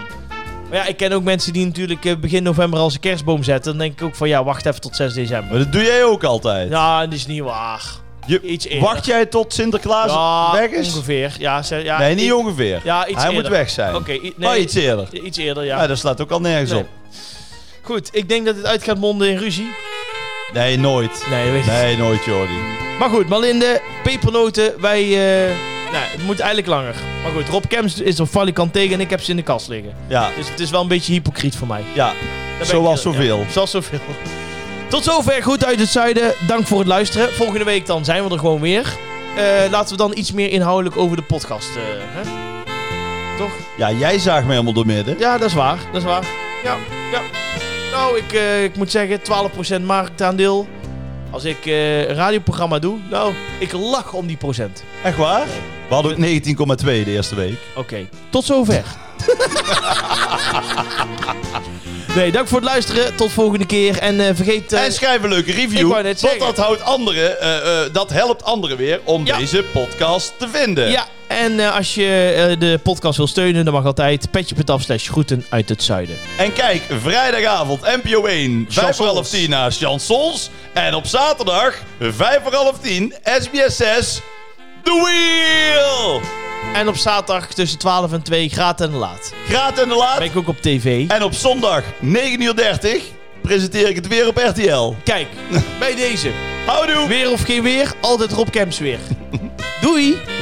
Speaker 1: Maar ja, ik ken ook mensen die natuurlijk eh, begin november al zijn kerstboom zetten. Dan denk ik ook van ja, wacht even tot 6 december.
Speaker 2: maar dat doe jij ook altijd.
Speaker 1: Ja, dat is niet waar.
Speaker 2: Je-
Speaker 1: iets eerder.
Speaker 2: wacht jij tot Sinterklaas
Speaker 1: Ja,
Speaker 2: weg is?
Speaker 1: ongeveer. Ja, ze- ja,
Speaker 2: Nee, niet
Speaker 1: i-
Speaker 2: ongeveer.
Speaker 1: Ja, iets
Speaker 2: Hij
Speaker 1: eerder.
Speaker 2: moet weg zijn.
Speaker 1: Oké, i- nee,
Speaker 2: Maar iets eerder.
Speaker 1: i- iets eerder, ja.
Speaker 2: Ja, dat slaat ook al nergens
Speaker 1: Nee.
Speaker 2: op.
Speaker 1: Goed, ik denk dat het uit gaat monden in ruzie.
Speaker 2: Nee, nooit.
Speaker 1: Nee, weet je.
Speaker 2: Nee, nooit, Jordi.
Speaker 1: Maar goed, Malinde, pepernoten, wij... eh, nou, het moet eigenlijk langer. Maar goed, Rob Kems is op Valikant tegen en ik heb ze in de kast liggen.
Speaker 2: Ja,
Speaker 1: Dus het is wel een beetje hypocriet voor mij.
Speaker 2: ja.
Speaker 1: Daar ben
Speaker 2: zoals
Speaker 1: ik-
Speaker 2: zoveel.
Speaker 1: ja, zoals zoveel. Tot zover Goed uit het Zuiden. Dank voor het luisteren. Volgende week dan zijn we er gewoon weer. Eh, laten we dan iets meer inhoudelijk over de podcast... eh, hè? Toch?
Speaker 2: Ja, jij zaagt me helemaal door midden.
Speaker 1: Ja, dat is waar. Dat is waar. Ja, ja. Nou, ik, eh, ik moet zeggen, 12% marktaandeel. Als ik eh, een radioprogramma doe, nou, ik lach om die procent.
Speaker 2: Echt waar? We hadden ook 19,2 de eerste week.
Speaker 1: Oké, tot zover. nee, dank voor het luisteren. Tot volgende keer. En eh, vergeet... eh,
Speaker 2: En schrijf een leuke
Speaker 1: ik
Speaker 2: review.
Speaker 1: wou net
Speaker 2: Want
Speaker 1: zeggen.
Speaker 2: dat, houdt anderen, eh, eh, dat helpt anderen weer om
Speaker 1: Ja.
Speaker 2: deze podcast te vinden.
Speaker 1: ja, en eh, als je eh, de podcast wil steunen, dan mag altijd petje.af slash groeten uit het zuiden.
Speaker 2: En kijk, vrijdagavond NPO 1, 5 voor
Speaker 1: Chansons.
Speaker 2: half 10 naar Chansons. En op zaterdag, 5 voor half 10, SBS 6, The Wheel!
Speaker 1: En op zaterdag tussen 12 en 2, graat en laat.
Speaker 2: Graat en de laat.
Speaker 1: Ben ik ook op tv.
Speaker 2: En op zondag, 9.30 uur, presenteer ik het weer op RTL.
Speaker 1: Kijk, bij deze.
Speaker 2: Houdoe!
Speaker 1: Weer of geen weer, altijd Rob Kemps weer. Doei!